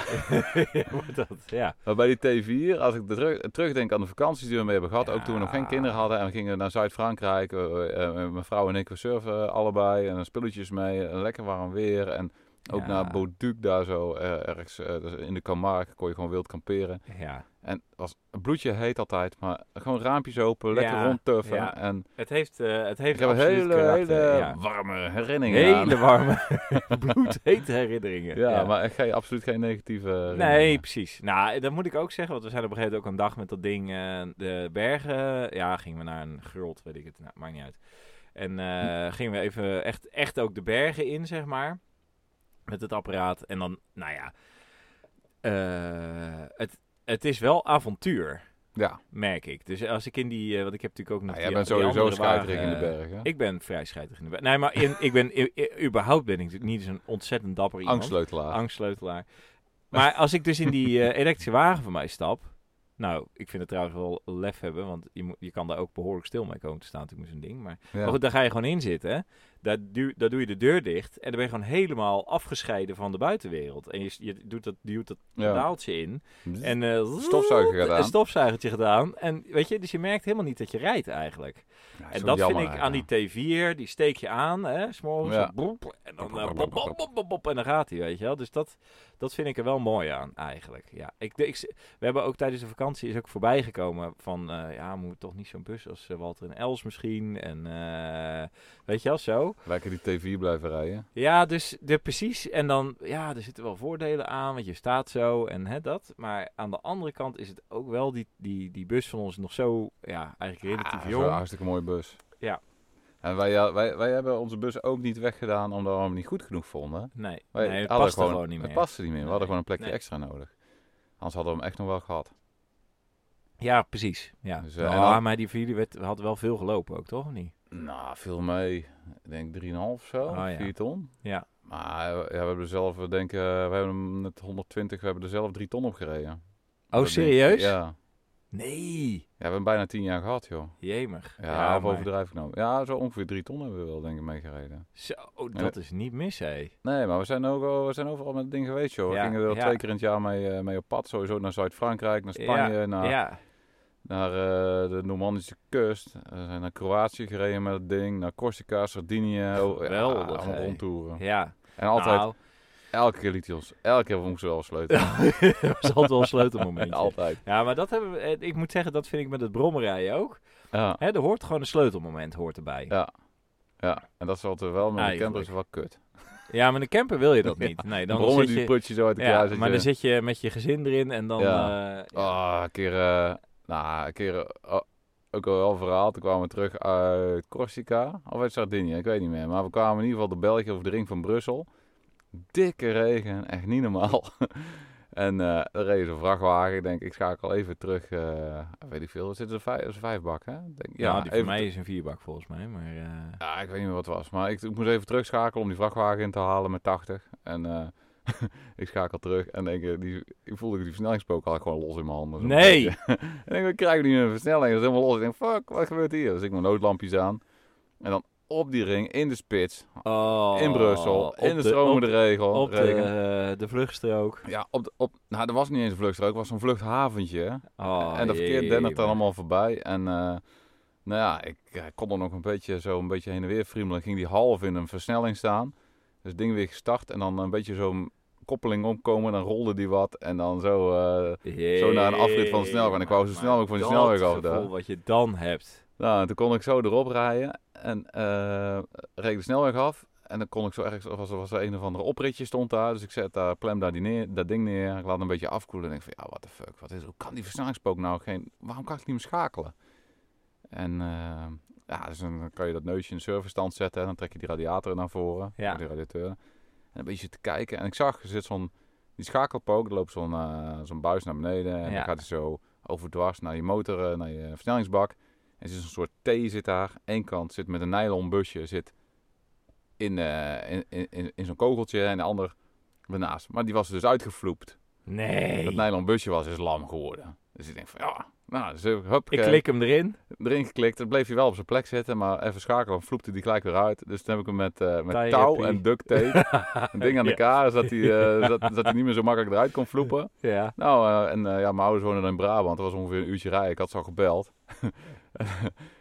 Speaker 1: wordt dat, (laughs) ja.
Speaker 2: Maar bij die T4, als ik de terug, terugdenk aan de vakanties die we mee hebben gehad,
Speaker 1: Ja.
Speaker 2: ook toen we nog geen kinderen hadden en we gingen naar Zuid-Frankrijk, eh, eh, eh, mijn vrouw en ik, we surfen allebei en spulletjes mee, en lekker warm weer en ook
Speaker 1: Ja.
Speaker 2: naar Bauduc daar zo, eh, ergens eh, dus in de Camargue kon je gewoon wild kamperen.
Speaker 1: ja.
Speaker 2: En het was een bloedje heet altijd, maar gewoon raampjes open, lekker
Speaker 1: Ja,
Speaker 2: rondtuffen
Speaker 1: ja.
Speaker 2: en
Speaker 1: Het heeft, eh, het
Speaker 2: ik
Speaker 1: heeft
Speaker 2: heb een
Speaker 1: absoluut
Speaker 2: hele,
Speaker 1: karakter,
Speaker 2: hele
Speaker 1: ja.
Speaker 2: warme herinneringen aan.
Speaker 1: Hele warme,
Speaker 2: (laughs)
Speaker 1: bloedhete herinneringen.
Speaker 2: Ja, maar echt geen, absoluut geen negatieve herinneringen.
Speaker 1: Nee, precies. Nou, dat moet ik ook zeggen, want we zijn op een gegeven moment ook een dag met dat ding eh, de bergen. Ja, gingen we naar een grot, weet ik het, nou, maakt niet uit. En
Speaker 2: Hm.
Speaker 1: eh, gingen we even echt, echt ook de bergen in, zeg maar, met het apparaat. En dan, nou ja, eh, het, het is wel avontuur,
Speaker 2: Ja,
Speaker 1: merk ik. Dus als ik in die, eh, want ik heb natuurlijk ook nog.
Speaker 2: nou,
Speaker 1: die-
Speaker 2: jij bent
Speaker 1: die
Speaker 2: sowieso
Speaker 1: andere
Speaker 2: scheiterig in de
Speaker 1: wagen, eh,
Speaker 2: bergen.
Speaker 1: ik ben vrij scheidig in de berg. Nee, maar in, ik ben, i- i- überhaupt ben ik natuurlijk niet zo'n ontzettend dapper iemand.
Speaker 2: Angstleutelaar.
Speaker 1: Angstleutelaar. Maar als ik dus in die eh, elektrische wagen van mij stap... Nou, ik vind het trouwens wel lef hebben, want je, moet, je kan daar ook behoorlijk stil mee komen te staan natuurlijk met zo'n ding. Maar,
Speaker 2: Ja.
Speaker 1: maar goed, daar ga je gewoon in zitten. Daar, duw, daar doe je de deur dicht en dan ben je gewoon helemaal afgescheiden van de buitenwereld. En je, s- je doet dat, duwt dat
Speaker 2: Ja.
Speaker 1: pedaaltje in
Speaker 2: En
Speaker 1: en eh,
Speaker 2: Stofzuiger gedaan.
Speaker 1: een stofzuigertje gedaan. En weet je, dus je merkt helemaal niet dat je rijdt eigenlijk. En dat vind ik aan die T4, die steek je aan, hè, s'morgens.
Speaker 2: Ja.
Speaker 1: zo broep, En dan eh, bop, bop, bop, bop, bop, en dan gaat hij, weet je wel. Dus dat, dat vind ik er wel mooi aan, eigenlijk. Ja, ik, ik, we hebben ook tijdens de vakantie, is ook voorbij gekomen van, eh, ja, moet toch niet zo'n bus als eh, Walter en Els misschien. En, eh, weet je wel, zo.
Speaker 2: Lekker die T4 blijven rijden.
Speaker 1: Ja, dus de, precies. En dan, ja, er zitten wel voordelen aan, want je staat zo en hè, dat. Maar aan de andere kant is het ook wel, die, die, die bus van ons nog zo, ja, eigenlijk relatief
Speaker 2: Ah, Een
Speaker 1: jong.
Speaker 2: hartstikke mooie bus.
Speaker 1: Ja.
Speaker 2: En wij, ja, wij, wij hebben onze bus ook niet weggedaan omdat we hem niet goed genoeg vonden.
Speaker 1: Nee,
Speaker 2: Wij
Speaker 1: nee, het
Speaker 2: hadden
Speaker 1: past er gewoon niet meer.
Speaker 2: Het paste niet meer. We
Speaker 1: Nee.
Speaker 2: hadden gewoon een plekje
Speaker 1: Nee.
Speaker 2: extra nodig. Anders hadden we hem echt nog wel gehad.
Speaker 1: Ja, precies. Ja.
Speaker 2: Dus,
Speaker 1: Dus,
Speaker 2: eh, en dan-
Speaker 1: maar die vier werd, had wel veel gelopen ook, toch? Of niet?
Speaker 2: Nou, veel mee. Ik denk 3,5 of zo.
Speaker 1: Ah, ja.
Speaker 2: 4 ton.
Speaker 1: Ja.
Speaker 2: Maar eh, ja, we hebben er zelf, we denken, eh, we hebben hem met 120, we hebben er zelf 3 ton op
Speaker 1: Oh,
Speaker 2: gereden. Dat denk ik.
Speaker 1: serieus?
Speaker 2: Ja. ja.
Speaker 1: Nee.
Speaker 2: We hebben hem bijna 10 jaar gehad, joh.
Speaker 1: Jemig.
Speaker 2: Ja, of
Speaker 1: maar-
Speaker 2: overdrijf ik nou. Ja, zo ongeveer 3 ton hebben we wel, denk ik, meegereden.
Speaker 1: Zo, dat is niet mis, hé.
Speaker 2: Nee, maar we zijn, ook, al- we zijn overal met het ding geweest, joh.
Speaker 1: Ja,
Speaker 2: we gingen wel
Speaker 1: ja.
Speaker 2: twee keer in het jaar mee, eh, mee op pad. Sowieso naar Zuid-Frankrijk, naar Spanje, naar,
Speaker 1: Ja.
Speaker 2: naar eh, de Normandische kust. We zijn naar Kroatië gereden met het ding. Naar
Speaker 1: (laughs)
Speaker 2: Corsica, Sardinië. Oh, ja,
Speaker 1: Geweldig,
Speaker 2: allemaal
Speaker 1: hé.
Speaker 2: rondtoeren.
Speaker 1: Ja.
Speaker 2: En altijd,
Speaker 1: Nou, (laughs)
Speaker 2: elke keer liet hij ons... Elke keer moesten we wel sleutelen.
Speaker 1: dat was altijd wel een sleutelmomentje.
Speaker 2: (laughs) altijd.
Speaker 1: Ja, maar dat hebben we... eh, Ik moet zeggen, dat vind ik met het brommerij ook.
Speaker 2: Ja.
Speaker 1: Hè, er hoort gewoon een sleutelmoment hoort erbij.
Speaker 2: Ja. ja, en dat is altijd wel met de
Speaker 1: Eigenlijk.
Speaker 2: camper is wel kut.
Speaker 1: Ja, maar de camper wil je
Speaker 2: (laughs)
Speaker 1: dat niet. Nee, dan
Speaker 2: Brommen
Speaker 1: zit
Speaker 2: die
Speaker 1: je...
Speaker 2: prutje zo uit elkaar.
Speaker 1: Ja,
Speaker 2: zit
Speaker 1: maar
Speaker 2: je-
Speaker 1: dan zit je met je gezin erin en dan...
Speaker 2: eh. Ja.
Speaker 1: eh, ja.
Speaker 2: Ah, een keer, eh, nou, een keer, eh, oh, ook al wel een verhaal. Toen kwamen we terug uit Corsica of uit Sardinië, ik weet niet meer. Maar we kwamen in ieder geval de België over de ring van Brussel. Dikke regen, echt niet normaal. (laughs) en eh er reed een vrachtwagen. Ik denk, ik schakel even terug, eh, weet ik veel. Er zitten er vijf, dat is een vijfbak, hè? Ik Denk,
Speaker 1: Ja, Nou, die voor
Speaker 2: even
Speaker 1: mij is een vierbak volgens mij, maar... eh,
Speaker 2: ja, ik weet niet meer wat het was. Maar ik, ik moest even terugschakelen om die vrachtwagen in te halen met 80. En eh, (laughs) ik schakel terug en denk, eh, die, ik voelde die versnellingspook al gewoon los in mijn handen. zo'n
Speaker 1: Nee!
Speaker 2: beetje. en ik denk, we krijgen nu een versnelling. Dat is helemaal los. Ik denk, fuck, wat gebeurt hier? Dus ik mijn noodlampjes aan. En dan op die ring, in de spits,
Speaker 1: Oh,
Speaker 2: in Brussel,
Speaker 1: op
Speaker 2: in de
Speaker 1: op
Speaker 2: stromende regel.
Speaker 1: Op de,
Speaker 2: regen.
Speaker 1: eh, de vluchtstrook.
Speaker 2: Ja, op, de- op, nou, er was niet eens een vluchtstrook, het was zo'n vluchthaventje. hè.
Speaker 1: Oh,
Speaker 2: en dat verkeer
Speaker 1: jee,
Speaker 2: dennert dan
Speaker 1: man.
Speaker 2: allemaal voorbij. En eh, nou ja, ik eh, kon er nog een beetje zo een beetje heen en weer friemelen. Ging die half in een versnelling staan. Dus het ding weer gestart en dan een beetje zo'n koppeling omkomen. Dan rolde die wat en dan zo... eh, zo naar een afrit van de snelweg. En ik wou zo
Speaker 1: Maar
Speaker 2: snel mogelijk van
Speaker 1: dat
Speaker 2: die snelweg af
Speaker 1: gevoel
Speaker 2: daar.
Speaker 1: wat je dan hebt.
Speaker 2: nou, en toen kon ik zo erop rijden en eh reed ik de snelweg af. En dan kon ik zo ergens, of was, was er een of andere opritje stond daar. Dus ik zet daar, klem daar die neer, dat ding neer. Ik laat hem een beetje afkoelen. En ik van, ja, what the fuck, wat is Hoe kan die versnellingspook nou geen... Waarom kan ik niet meer schakelen? En eh, ja, dus dan kan je dat neusje in de serverstand zetten. En dan trek je die radiator naar voren,
Speaker 1: Ja.
Speaker 2: die radiateur. En En een beetje te kijken. En ik zag, er zit zo'n... Die schakelpook, er loopt zo'n eh, zo'n buis naar beneden. En
Speaker 1: Ja.
Speaker 2: dan gaat hij zo overdwars naar je motor, eh, naar je versnellingsbak. En er zit een soort T zit daar. Eén kant zit met een nylon busje zit in, eh, in, in, in, in zo'n kogeltje. En de ander ernaast. Maar die was dus uitgevloept. Dat nou,
Speaker 1: Nee.
Speaker 2: nylon busje was is lam geworden. Dus ik denk van ja, nou, dus ik- hup,
Speaker 1: Ik
Speaker 2: eh,
Speaker 1: klik hem erin.
Speaker 2: erin geklikt. Dan bleef hij wel op zijn plek zitten, maar even schakelen, vloepte die gelijk weer uit. Dus toen heb ik hem met, eh,
Speaker 1: Tie
Speaker 2: met touw
Speaker 1: happy.
Speaker 2: en duct
Speaker 1: (laughs)
Speaker 2: tape een ding aan
Speaker 1: Ja.
Speaker 2: elkaar, zodat hij, eh, zodat, zodat hij niet meer zo makkelijk eruit kon vloepen.
Speaker 1: Ja.
Speaker 2: Nou, eh, en eh, ja, mijn ouders wonen in Brabant, dat was ongeveer een uurtje rijden. Ik had ze al gebeld. (laughs)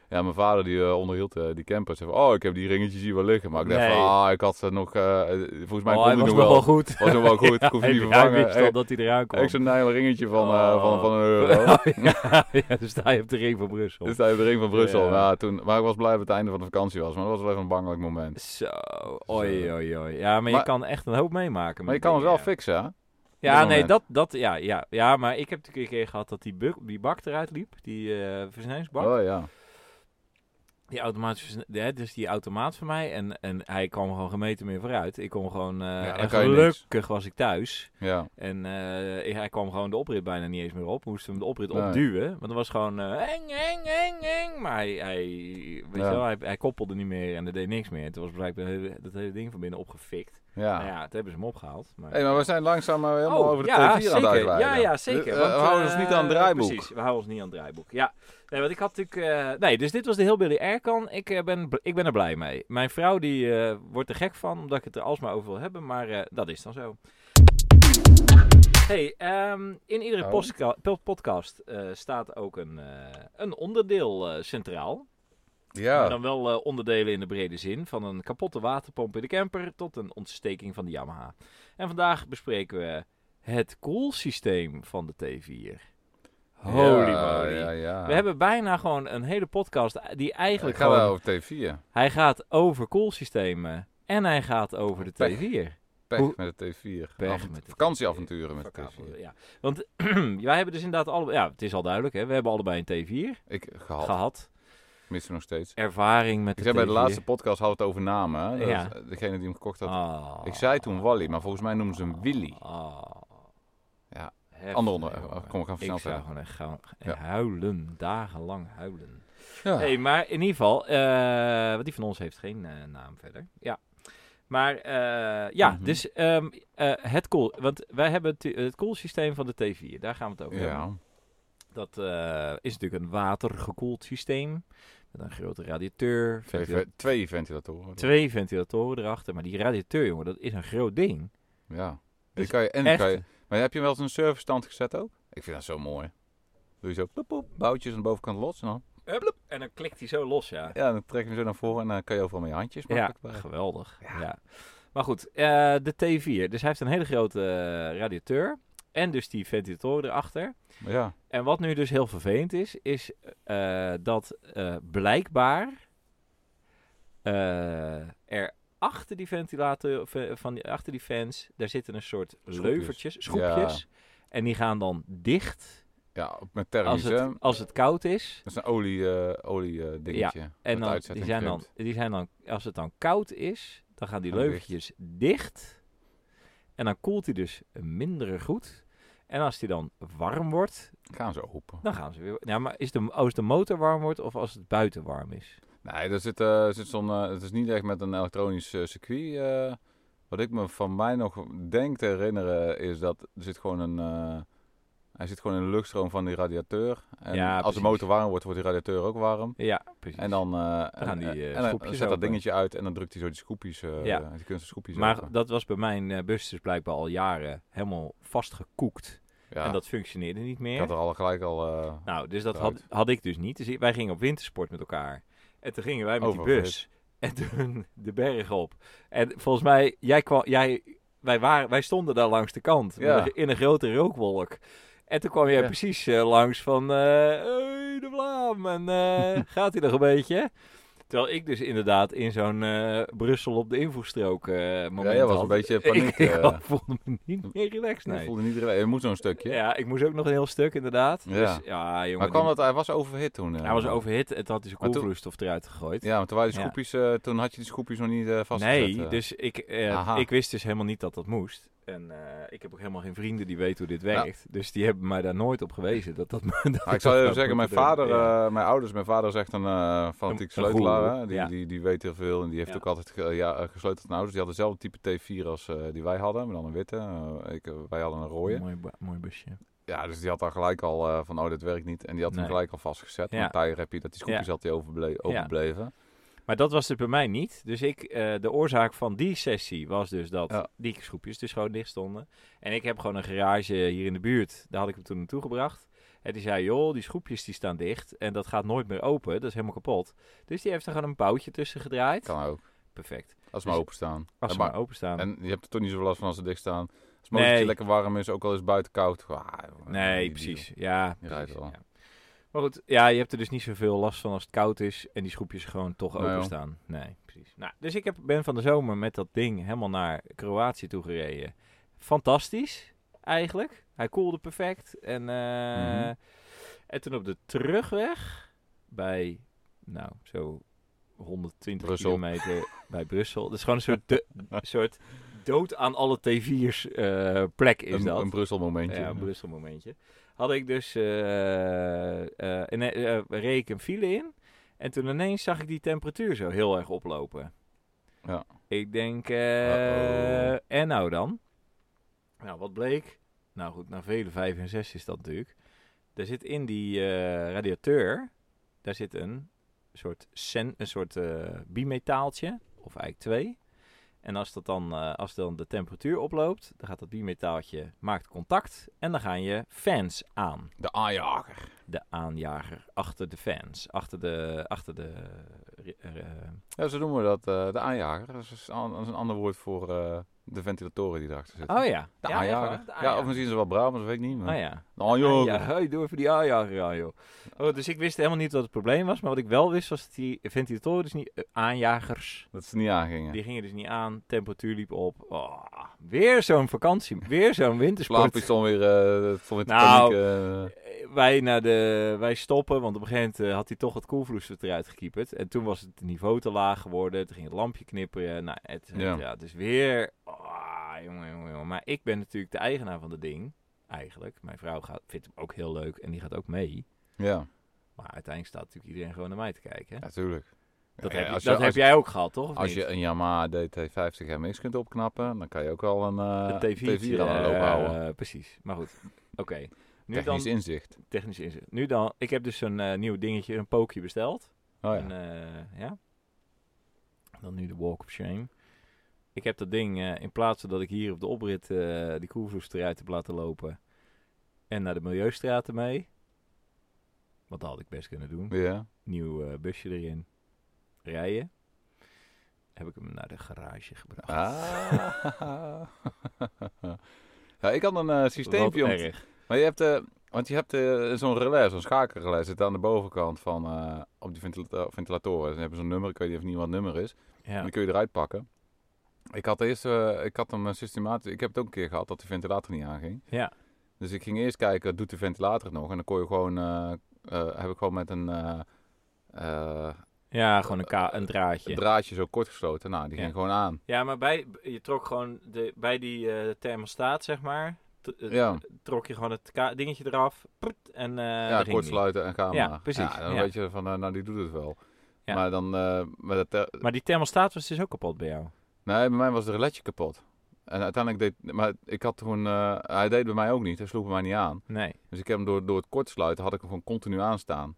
Speaker 2: ja, mijn vader die eh, onderhield eh, die camper. Zei van, oh, ik heb die ringetjes hier wel liggen. Maar ik dacht,
Speaker 1: Nee.
Speaker 2: van, ah, ik had ze nog, eh, eh, volgens mij
Speaker 1: Oh,
Speaker 2: kon
Speaker 1: hij
Speaker 2: ik
Speaker 1: was nog
Speaker 2: nog wel.
Speaker 1: wel goed.
Speaker 2: Was nog wel
Speaker 1: (laughs)
Speaker 2: goed, ik hoef
Speaker 1: Hij-
Speaker 2: niet
Speaker 1: Hij
Speaker 2: vervangen.
Speaker 1: wist al dat hij eraan kwam.
Speaker 2: Ik zo'n nijlen ringetje van, eh,
Speaker 1: Oh.
Speaker 2: van, van een euro.
Speaker 1: (laughs) ja, ja, dus daar heb de ring van Brussel.
Speaker 2: Dus daar heb je de ring van Brussel.
Speaker 1: Ja.
Speaker 2: Nou, toen, maar ik was blij dat het einde van de vakantie was. Maar dat was wel even een bangelijk moment.
Speaker 1: Zo, oi, oi, oi. Ja, maar, je
Speaker 2: Maar-
Speaker 1: kan echt een hoop meemaken.
Speaker 2: Maar je
Speaker 1: met
Speaker 2: kan
Speaker 1: dingen,
Speaker 2: het wel
Speaker 1: ja.
Speaker 2: fixen, hè?
Speaker 1: Ja,
Speaker 2: dit
Speaker 1: nee,
Speaker 2: moment.
Speaker 1: dat, dat, ja, ja, ja, maar ik heb natuurlijk een keer gehad dat die, bu- die bak eruit liep, die eh versnellingsbak.
Speaker 2: Oh ja.
Speaker 1: Die automatische, versne- ja, dus die automaat van mij en, en hij kwam gewoon geen meter meer vooruit. Ik kon gewoon, eh,
Speaker 2: dan
Speaker 1: en
Speaker 2: kan je niks.
Speaker 1: gelukkig was ik thuis
Speaker 2: ja.
Speaker 1: en eh, ik- hij kwam gewoon de oprit bijna niet eens meer op. Moesten hem de oprit
Speaker 2: Nee.
Speaker 1: opduwen, want dat was gewoon eh, eng, eng, eng, eng. Maar hij, hij, weet je
Speaker 2: Ja.
Speaker 1: wel, hij, hij koppelde niet meer en er deed niks meer. Toen was blijkbaar dat hele- dat hele ding van binnen opgefikt.
Speaker 2: Ja.
Speaker 1: Nou ja, toen hebben ze hem opgehaald. Maar...
Speaker 2: hey, maar we zijn langzaam maar nou helemaal
Speaker 1: Oh,
Speaker 2: over de
Speaker 1: ja,
Speaker 2: T4 aan
Speaker 1: zeker.
Speaker 2: het uitweiden.
Speaker 1: Ja, ja, zeker.
Speaker 2: Eh,
Speaker 1: want,
Speaker 2: we houden
Speaker 1: eh,
Speaker 2: ons niet aan het draaiboek.
Speaker 1: Precies, we houden ons niet aan het draaiboek. Ja, nee, want ik had natuurlijk... eh, nee, dus dit was de heel Billy Aircan. Ik, eh, ben, bl- ik ben er blij mee. Mijn vrouw die eh, wordt er gek van, omdat ik het er alsmaar over wil hebben. Maar eh, dat is dan zo. Hey, ehm, in iedere
Speaker 2: Oh.
Speaker 1: postka- po- podcast eh, staat ook een, eh, een onderdeel eh, centraal. Maar
Speaker 2: Ja.
Speaker 1: dan wel eh, onderdelen in de brede zin. Van een kapotte waterpomp in de camper tot een ontsteking van de Yamaha. En vandaag bespreken we het koelsysteem van de T4. Holy
Speaker 2: ja,
Speaker 1: moly.
Speaker 2: Ja, ja.
Speaker 1: We hebben bijna gewoon een hele podcast eh, die eigenlijk
Speaker 2: Ik ga wel
Speaker 1: gewoon...
Speaker 2: over T4.
Speaker 1: Hij gaat over koelsystemen en hij gaat over de
Speaker 2: Pech.
Speaker 1: T4.
Speaker 2: Pech
Speaker 1: Hoe-
Speaker 2: met de T4.
Speaker 1: Pech
Speaker 2: Avond-
Speaker 1: met de
Speaker 2: vakantieavonturen met de
Speaker 1: Verkabelen,
Speaker 2: T4.
Speaker 1: Ja. Want (clears throat) wij hebben dus inderdaad allebei... Ja, het is al duidelijk hè. We hebben allebei een T4
Speaker 2: Ik gehad.
Speaker 1: gehad.
Speaker 2: Missen nog steeds.
Speaker 1: Ervaring met
Speaker 2: Ik
Speaker 1: de
Speaker 2: zei bij de
Speaker 1: T4.
Speaker 2: laatste podcast hadden we het over namen. Hè? Dat eh,
Speaker 1: Ja.
Speaker 2: Degene die hem gekocht had.
Speaker 1: Ah.
Speaker 2: Ik zei toen Wally, maar volgens mij noemen ze hem Willy.
Speaker 1: Ah.
Speaker 2: Ja,
Speaker 1: Heftig,
Speaker 2: Ander onderwerp.
Speaker 1: jongen.
Speaker 2: Kom, we gaan
Speaker 1: Ik
Speaker 2: snel
Speaker 1: zou
Speaker 2: verder.
Speaker 1: gewoon echt gaan
Speaker 2: Ja.
Speaker 1: huilen, dagenlang huilen.
Speaker 2: Ja.
Speaker 1: Ah. Hey, maar in ieder geval, eh, want die van ons heeft geen eh, naam verder. Ja. Maar eh, ja,
Speaker 2: Mhm.
Speaker 1: dus ehm, eh, het cool, want wij hebben het, het koelsysteem van de T4, daar gaan we het over hebben.
Speaker 2: Ja.
Speaker 1: Dat eh, is natuurlijk een watergekoeld systeem, met een grote radiateur,
Speaker 2: Twee,
Speaker 1: ventila-
Speaker 2: ve- twee ventilatoren.
Speaker 1: twee ventilatoren erachter. Maar die radiateur, jongen, dat is een groot ding.
Speaker 2: Ja.
Speaker 1: Dus
Speaker 2: die kan je, en die
Speaker 1: Echt,
Speaker 2: kan je, maar heb je hem wel eens een serverstand gezet ook? Ik vind dat zo mooi. Doe je zo poep, poep, boutjes aan de bovenkant los. En dan,
Speaker 1: Hup, en dan klikt hij zo los, ja.
Speaker 2: ja, dan trek je hem zo naar voren en dan kan je overal met je handjes
Speaker 1: Ja,
Speaker 2: makkelijk bij.
Speaker 1: geweldig. Ja. Maar goed, eh, de T4. Dus hij heeft een hele grote eh, radiateur. En dus die ventilatoren erachter.
Speaker 2: Ja.
Speaker 1: En wat nu dus heel vervelend is, is eh, dat eh, blijkbaar eh, er achter die ventilator, of, eh, van die, achter die fans, daar zitten een soort
Speaker 2: Schroepjes.
Speaker 1: leuvertjes, schroepjes. En die gaan dan dicht
Speaker 2: ja, ook met
Speaker 1: als
Speaker 2: thermisch. hè.
Speaker 1: het, als het koud is.
Speaker 2: Dat is een olie, eh, olie eh, dingetje.
Speaker 1: En
Speaker 2: dat
Speaker 1: dan, die,
Speaker 2: uitzetting
Speaker 1: zijn dan,
Speaker 2: krimpt.
Speaker 1: die zijn dan, als het dan koud is, dan gaan die
Speaker 2: Gaan dicht.
Speaker 1: leugeltjes dicht. En dan koelt hij dus minder goed. En als die dan warm wordt,
Speaker 2: Gaan ze open.
Speaker 1: dan gaan ze weer... Ja, maar is de, als de motor warm wordt of als het buiten warm is?
Speaker 2: Nee, er zit, eh, er zit zo'n, eh, het is niet echt met een elektronisch eh, circuit. eh. wat ik me van mij nog denk te herinneren is dat er zit gewoon een... eh, hij zit gewoon in de luchtstroom van die radiator. En
Speaker 1: Ja,
Speaker 2: als
Speaker 1: precies.
Speaker 2: de motor warm wordt, wordt die radiator ook warm.
Speaker 1: Ja, precies.
Speaker 2: En dan, eh, en-
Speaker 1: gaan die, eh,
Speaker 2: en dan
Speaker 1: schroepjes
Speaker 2: zet dat
Speaker 1: open.
Speaker 2: dingetje uit en dan drukt hij zo die scoopjes, eh
Speaker 1: Ja.
Speaker 2: die kunstige scoopjes
Speaker 1: maar
Speaker 2: open.
Speaker 1: dat was bij mijn eh, bus dus blijkbaar al jaren helemaal vastgekoekt.
Speaker 2: Ja,
Speaker 1: En dat functioneerde niet meer.
Speaker 2: ik had er al gelijk al eh,
Speaker 1: Nou, dus dat had,
Speaker 2: Eruit.
Speaker 1: had ik dus niet. Dus ik- wij gingen op wintersport met elkaar. En toen gingen wij met die
Speaker 2: Oververhit.
Speaker 1: bus. En toen (laughs) de berg op. En volgens mij, jij kwam, jij, wij, waren, wij stonden daar langs de kant.
Speaker 2: Ja.
Speaker 1: met een- In een grote rookwolk. En toen kwam jij
Speaker 2: Ja. (laughs)
Speaker 1: precies eh, langs van... eh hey, de Vlaam. En eh, gaat hij nog een beetje? Terwijl ik dus inderdaad in zo'n eh, Brussel op de invoerstrook eh moment
Speaker 2: Ja, jij was
Speaker 1: had.
Speaker 2: een beetje
Speaker 1: (laughs) Ik,
Speaker 2: paniek.
Speaker 1: ik
Speaker 2: eh.
Speaker 1: voelde me niet meer relaxed.
Speaker 2: Nee.
Speaker 1: Nee.
Speaker 2: Voelde niet iedereen. Je moet zo'n stukje.
Speaker 1: Ja, ik moest ook nog een heel stuk inderdaad.
Speaker 2: Ja.
Speaker 1: Dus ja, jongen.
Speaker 2: maar kwam
Speaker 1: die-
Speaker 2: dat, hij was overhit toen. eh.
Speaker 1: Hij was overhit en toen had hij zijn
Speaker 2: Maar toen-
Speaker 1: koelvloeistof eruit gegooid.
Speaker 2: Ja, maar toen, waren die
Speaker 1: Ja.
Speaker 2: scoopjes, eh, toen had je die scoopjes nog niet eh, vastgezet.
Speaker 1: nee,
Speaker 2: eh.
Speaker 1: dus ik, eh,
Speaker 2: Aha.
Speaker 1: ik wist dus helemaal niet dat dat moest. En eh, ik heb ook helemaal geen vrienden die weten hoe dit
Speaker 2: Nou.
Speaker 1: werkt. Dus die hebben mij daar nooit op gewezen. Dat (laughs) dat, dat
Speaker 2: Maar ik
Speaker 1: dat
Speaker 2: zal je
Speaker 1: dat
Speaker 2: even zeggen, mijn
Speaker 1: moet doen.
Speaker 2: vader,
Speaker 1: Ja.
Speaker 2: eh, mijn ouders, mijn vader is echt een eh fanatiek
Speaker 1: Een- een goeroe,
Speaker 2: sleutelaar. hè. Die,
Speaker 1: ja.
Speaker 2: die, die weet heel veel en die heeft
Speaker 1: Ja.
Speaker 2: ook altijd ge- ja, eh, gesleuteld aan ouders. Die hadden dezelfde type T4 als eh, die wij hadden, maar dan een witte. Eh, ik, eh, wij hadden een rode.
Speaker 1: Mooi, bu- mooi busje.
Speaker 2: Ja, dus die had dan gelijk al eh, van, oh, dit werkt niet. En die had hem
Speaker 1: Nee.
Speaker 2: gelijk al vastgezet.
Speaker 1: Ja.
Speaker 2: Met tire heb je dat die scoopjes had die overble- overbleven.
Speaker 1: Maar dat was het bij mij niet. Dus ik, eh, de oorzaak van die sessie was dus dat
Speaker 2: Ja.
Speaker 1: die schroepjes dus gewoon dicht stonden. En ik heb gewoon een garage hier in de buurt. Daar had ik hem toen naartoe gebracht. En die zei, joh, die schroepjes die staan dicht. En dat gaat nooit meer open. Dat is helemaal kapot. Dus die heeft er gewoon een boutje tussen gedraaid.
Speaker 2: Kan ook,
Speaker 1: Perfect.
Speaker 2: als ze maar
Speaker 1: Dus-
Speaker 2: openstaan.
Speaker 1: Als
Speaker 2: Ja,
Speaker 1: ze
Speaker 2: maar-
Speaker 1: maar openstaan.
Speaker 2: En je hebt er toch niet zoveel last van als ze dicht staan. Als het
Speaker 1: Nee.
Speaker 2: motortje lekker warm is, ook al is het buiten koud. ah, joh,
Speaker 1: Nee,
Speaker 2: die- die-
Speaker 1: precies. Ja,
Speaker 2: Je
Speaker 1: precies,
Speaker 2: rijdt wel.
Speaker 1: ja. Maar goed, ja, je hebt er dus niet zoveel last van als het koud is en die schroepjes gewoon toch
Speaker 2: Nee, joh.
Speaker 1: openstaan. Nee, precies. Nou, dus ik heb, ben van de zomer met dat ding helemaal naar Kroatië toe gereden. Fantastisch, eigenlijk. Hij koelde perfect. En, eh,
Speaker 2: Mhm.
Speaker 1: en toen op de terugweg bij, nou, zo 120
Speaker 2: Brussel. (laughs)
Speaker 1: kilometer bij Brussel. Dat is gewoon een soort, de- soort dood aan alle T4's eh, plek is
Speaker 2: een,
Speaker 1: dat.
Speaker 2: een Brussel momentje.
Speaker 1: Ja, een Brussel momentje. Had ik dus eh, eh, in- eh, reed ik een file in. En toen ineens zag ik die temperatuur zo heel erg oplopen.
Speaker 2: Ja.
Speaker 1: Ik denk, eh,
Speaker 2: Uh-oh.
Speaker 1: en nou dan? Nou, wat bleek? Nou goed, na vele vijf en zes is dat natuurlijk. Daar zit in die eh, radiateur, daar zit een soort, sen, een soort eh, bimetaaltje, of eigenlijk twee. En als, dat dan, eh, als dan de temperatuur oploopt, dan gaat dat bimetaaltje, maakt contact en dan gaan je fans aan.
Speaker 2: De aanjager.
Speaker 1: De aanjager achter de fans, achter de... Achter de eh, eh,
Speaker 2: Ja, zo noemen we dat. eh, de aanjager. Dat is, een- dat is een ander woord voor eh, de ventilatoren die erachter zitten.
Speaker 1: oh ja.
Speaker 2: De
Speaker 1: ja, echt
Speaker 2: aanjager.
Speaker 1: waar, de
Speaker 2: Ja, of misschien is het wel Brabants, dat weet ik niet. Maar...
Speaker 1: Oh ja.
Speaker 2: De aanjager.
Speaker 1: Ja, hey, doe even die aanjager aan, joh. Oh, dus ik wist helemaal niet wat het probleem was. Maar wat ik wel wist, was dat die ventilatoren, dus niet, eh, aanjagers,
Speaker 2: Dat ze niet aangingen.
Speaker 1: die gingen dus niet aan. Temperatuur liep op. Oh, weer zo'n vakantie, weer zo'n wintersport.
Speaker 2: Slaappistool weer, eh stond weer te
Speaker 1: Nou.
Speaker 2: paniek, eh.
Speaker 1: Eh, Wij, naar de, wij stoppen, want op een gegeven moment eh, had hij toch het koelvloeistof eruit gekieperd. En toen was het niveau te laag geworden. Toen ging het lampje knipperen. Nou, het, het-
Speaker 2: Ja.
Speaker 1: ja. dus weer... Ah, jongen, jongen, jongen. Maar ik ben natuurlijk de eigenaar van het ding, eigenlijk. Mijn vrouw gaat, vindt hem ook heel leuk en die gaat ook mee.
Speaker 2: ja,
Speaker 1: Maar uiteindelijk staat natuurlijk iedereen gewoon naar mij te kijken.
Speaker 2: natuurlijk.
Speaker 1: Dat,
Speaker 2: Ja,
Speaker 1: heb, je,
Speaker 2: als je-
Speaker 1: dat
Speaker 2: als-
Speaker 1: heb jij ook gehad, toch? Of
Speaker 2: Als je
Speaker 1: niet?
Speaker 2: een Yamaha DT50 MX kunt opknappen, dan kan je ook wel een eh,
Speaker 1: De T4,
Speaker 2: T4 aan de loop
Speaker 1: eh,
Speaker 2: houden.
Speaker 1: precies, maar goed. Oké. Nu
Speaker 2: Technisch
Speaker 1: dan,
Speaker 2: inzicht.
Speaker 1: technisch inzicht. Nu dan, ik heb dus een eh, nieuw dingetje, een pookje besteld.
Speaker 2: Oh ja.
Speaker 1: En, eh, ja. Dan nu de Walk of Shame. Ik heb dat ding, eh, in plaats van dat ik hier op de oprit eh, die koelvloes eruit heb laten lopen en naar de Milieustraat mee. Wat had ik best kunnen doen.
Speaker 2: Ja.
Speaker 1: Nieuw eh, busje erin. Rijden. Heb ik hem naar de garage gebracht.
Speaker 2: Ah. (laughs) ja, ik had een eh systeempje
Speaker 1: Wat
Speaker 2: om...
Speaker 1: erg.
Speaker 2: Maar je hebt, eh, want je hebt eh, zo'n relais, zo'n schakelrelais, zit aan de bovenkant van, eh, op die ventilator ventilatoren. Dan hebben ze zo'n nummer, ik weet niet of niet wat het nummer is. En
Speaker 1: Ja.
Speaker 2: dan kun je eruit pakken. Ik had eerst, eh, ik had hem eh, systematisch, ik heb het ook een keer gehad dat de ventilator niet aanging.
Speaker 1: Ja.
Speaker 2: Dus ik ging eerst kijken, doet de ventilator het nog? En dan kon je gewoon, eh, eh, heb ik gewoon met een, eh, eh,
Speaker 1: ja, gewoon een, ka- een draadje.
Speaker 2: een draadje zo kort gesloten. Nou, die
Speaker 1: Ja.
Speaker 2: ging gewoon aan.
Speaker 1: ja, maar bij, je trok gewoon de, bij die eh, thermostaat, zeg maar. t- eh,
Speaker 2: Ja.
Speaker 1: trok je gewoon het ka- dingetje eraf. prut, en, eh,
Speaker 2: ja,
Speaker 1: daar ging
Speaker 2: kort
Speaker 1: die.
Speaker 2: sluiten en gaan
Speaker 1: Ja,
Speaker 2: maar.
Speaker 1: precies,
Speaker 2: Ja, dan
Speaker 1: ja.
Speaker 2: weet je van, eh, nou die doet het wel.
Speaker 1: Ja.
Speaker 2: Maar dan, eh, maar dat, eh,
Speaker 1: Maar die thermostaat was dus ook kapot bij jou.
Speaker 2: nee, bij mij was het reletje kapot. En uiteindelijk deed, maar ik had toen, eh, hij deed bij mij ook niet, hij sloeg bij mij niet aan.
Speaker 1: Nee.
Speaker 2: Dus ik heb hem door, door het kort sluiten, had ik hem gewoon continu aanstaan.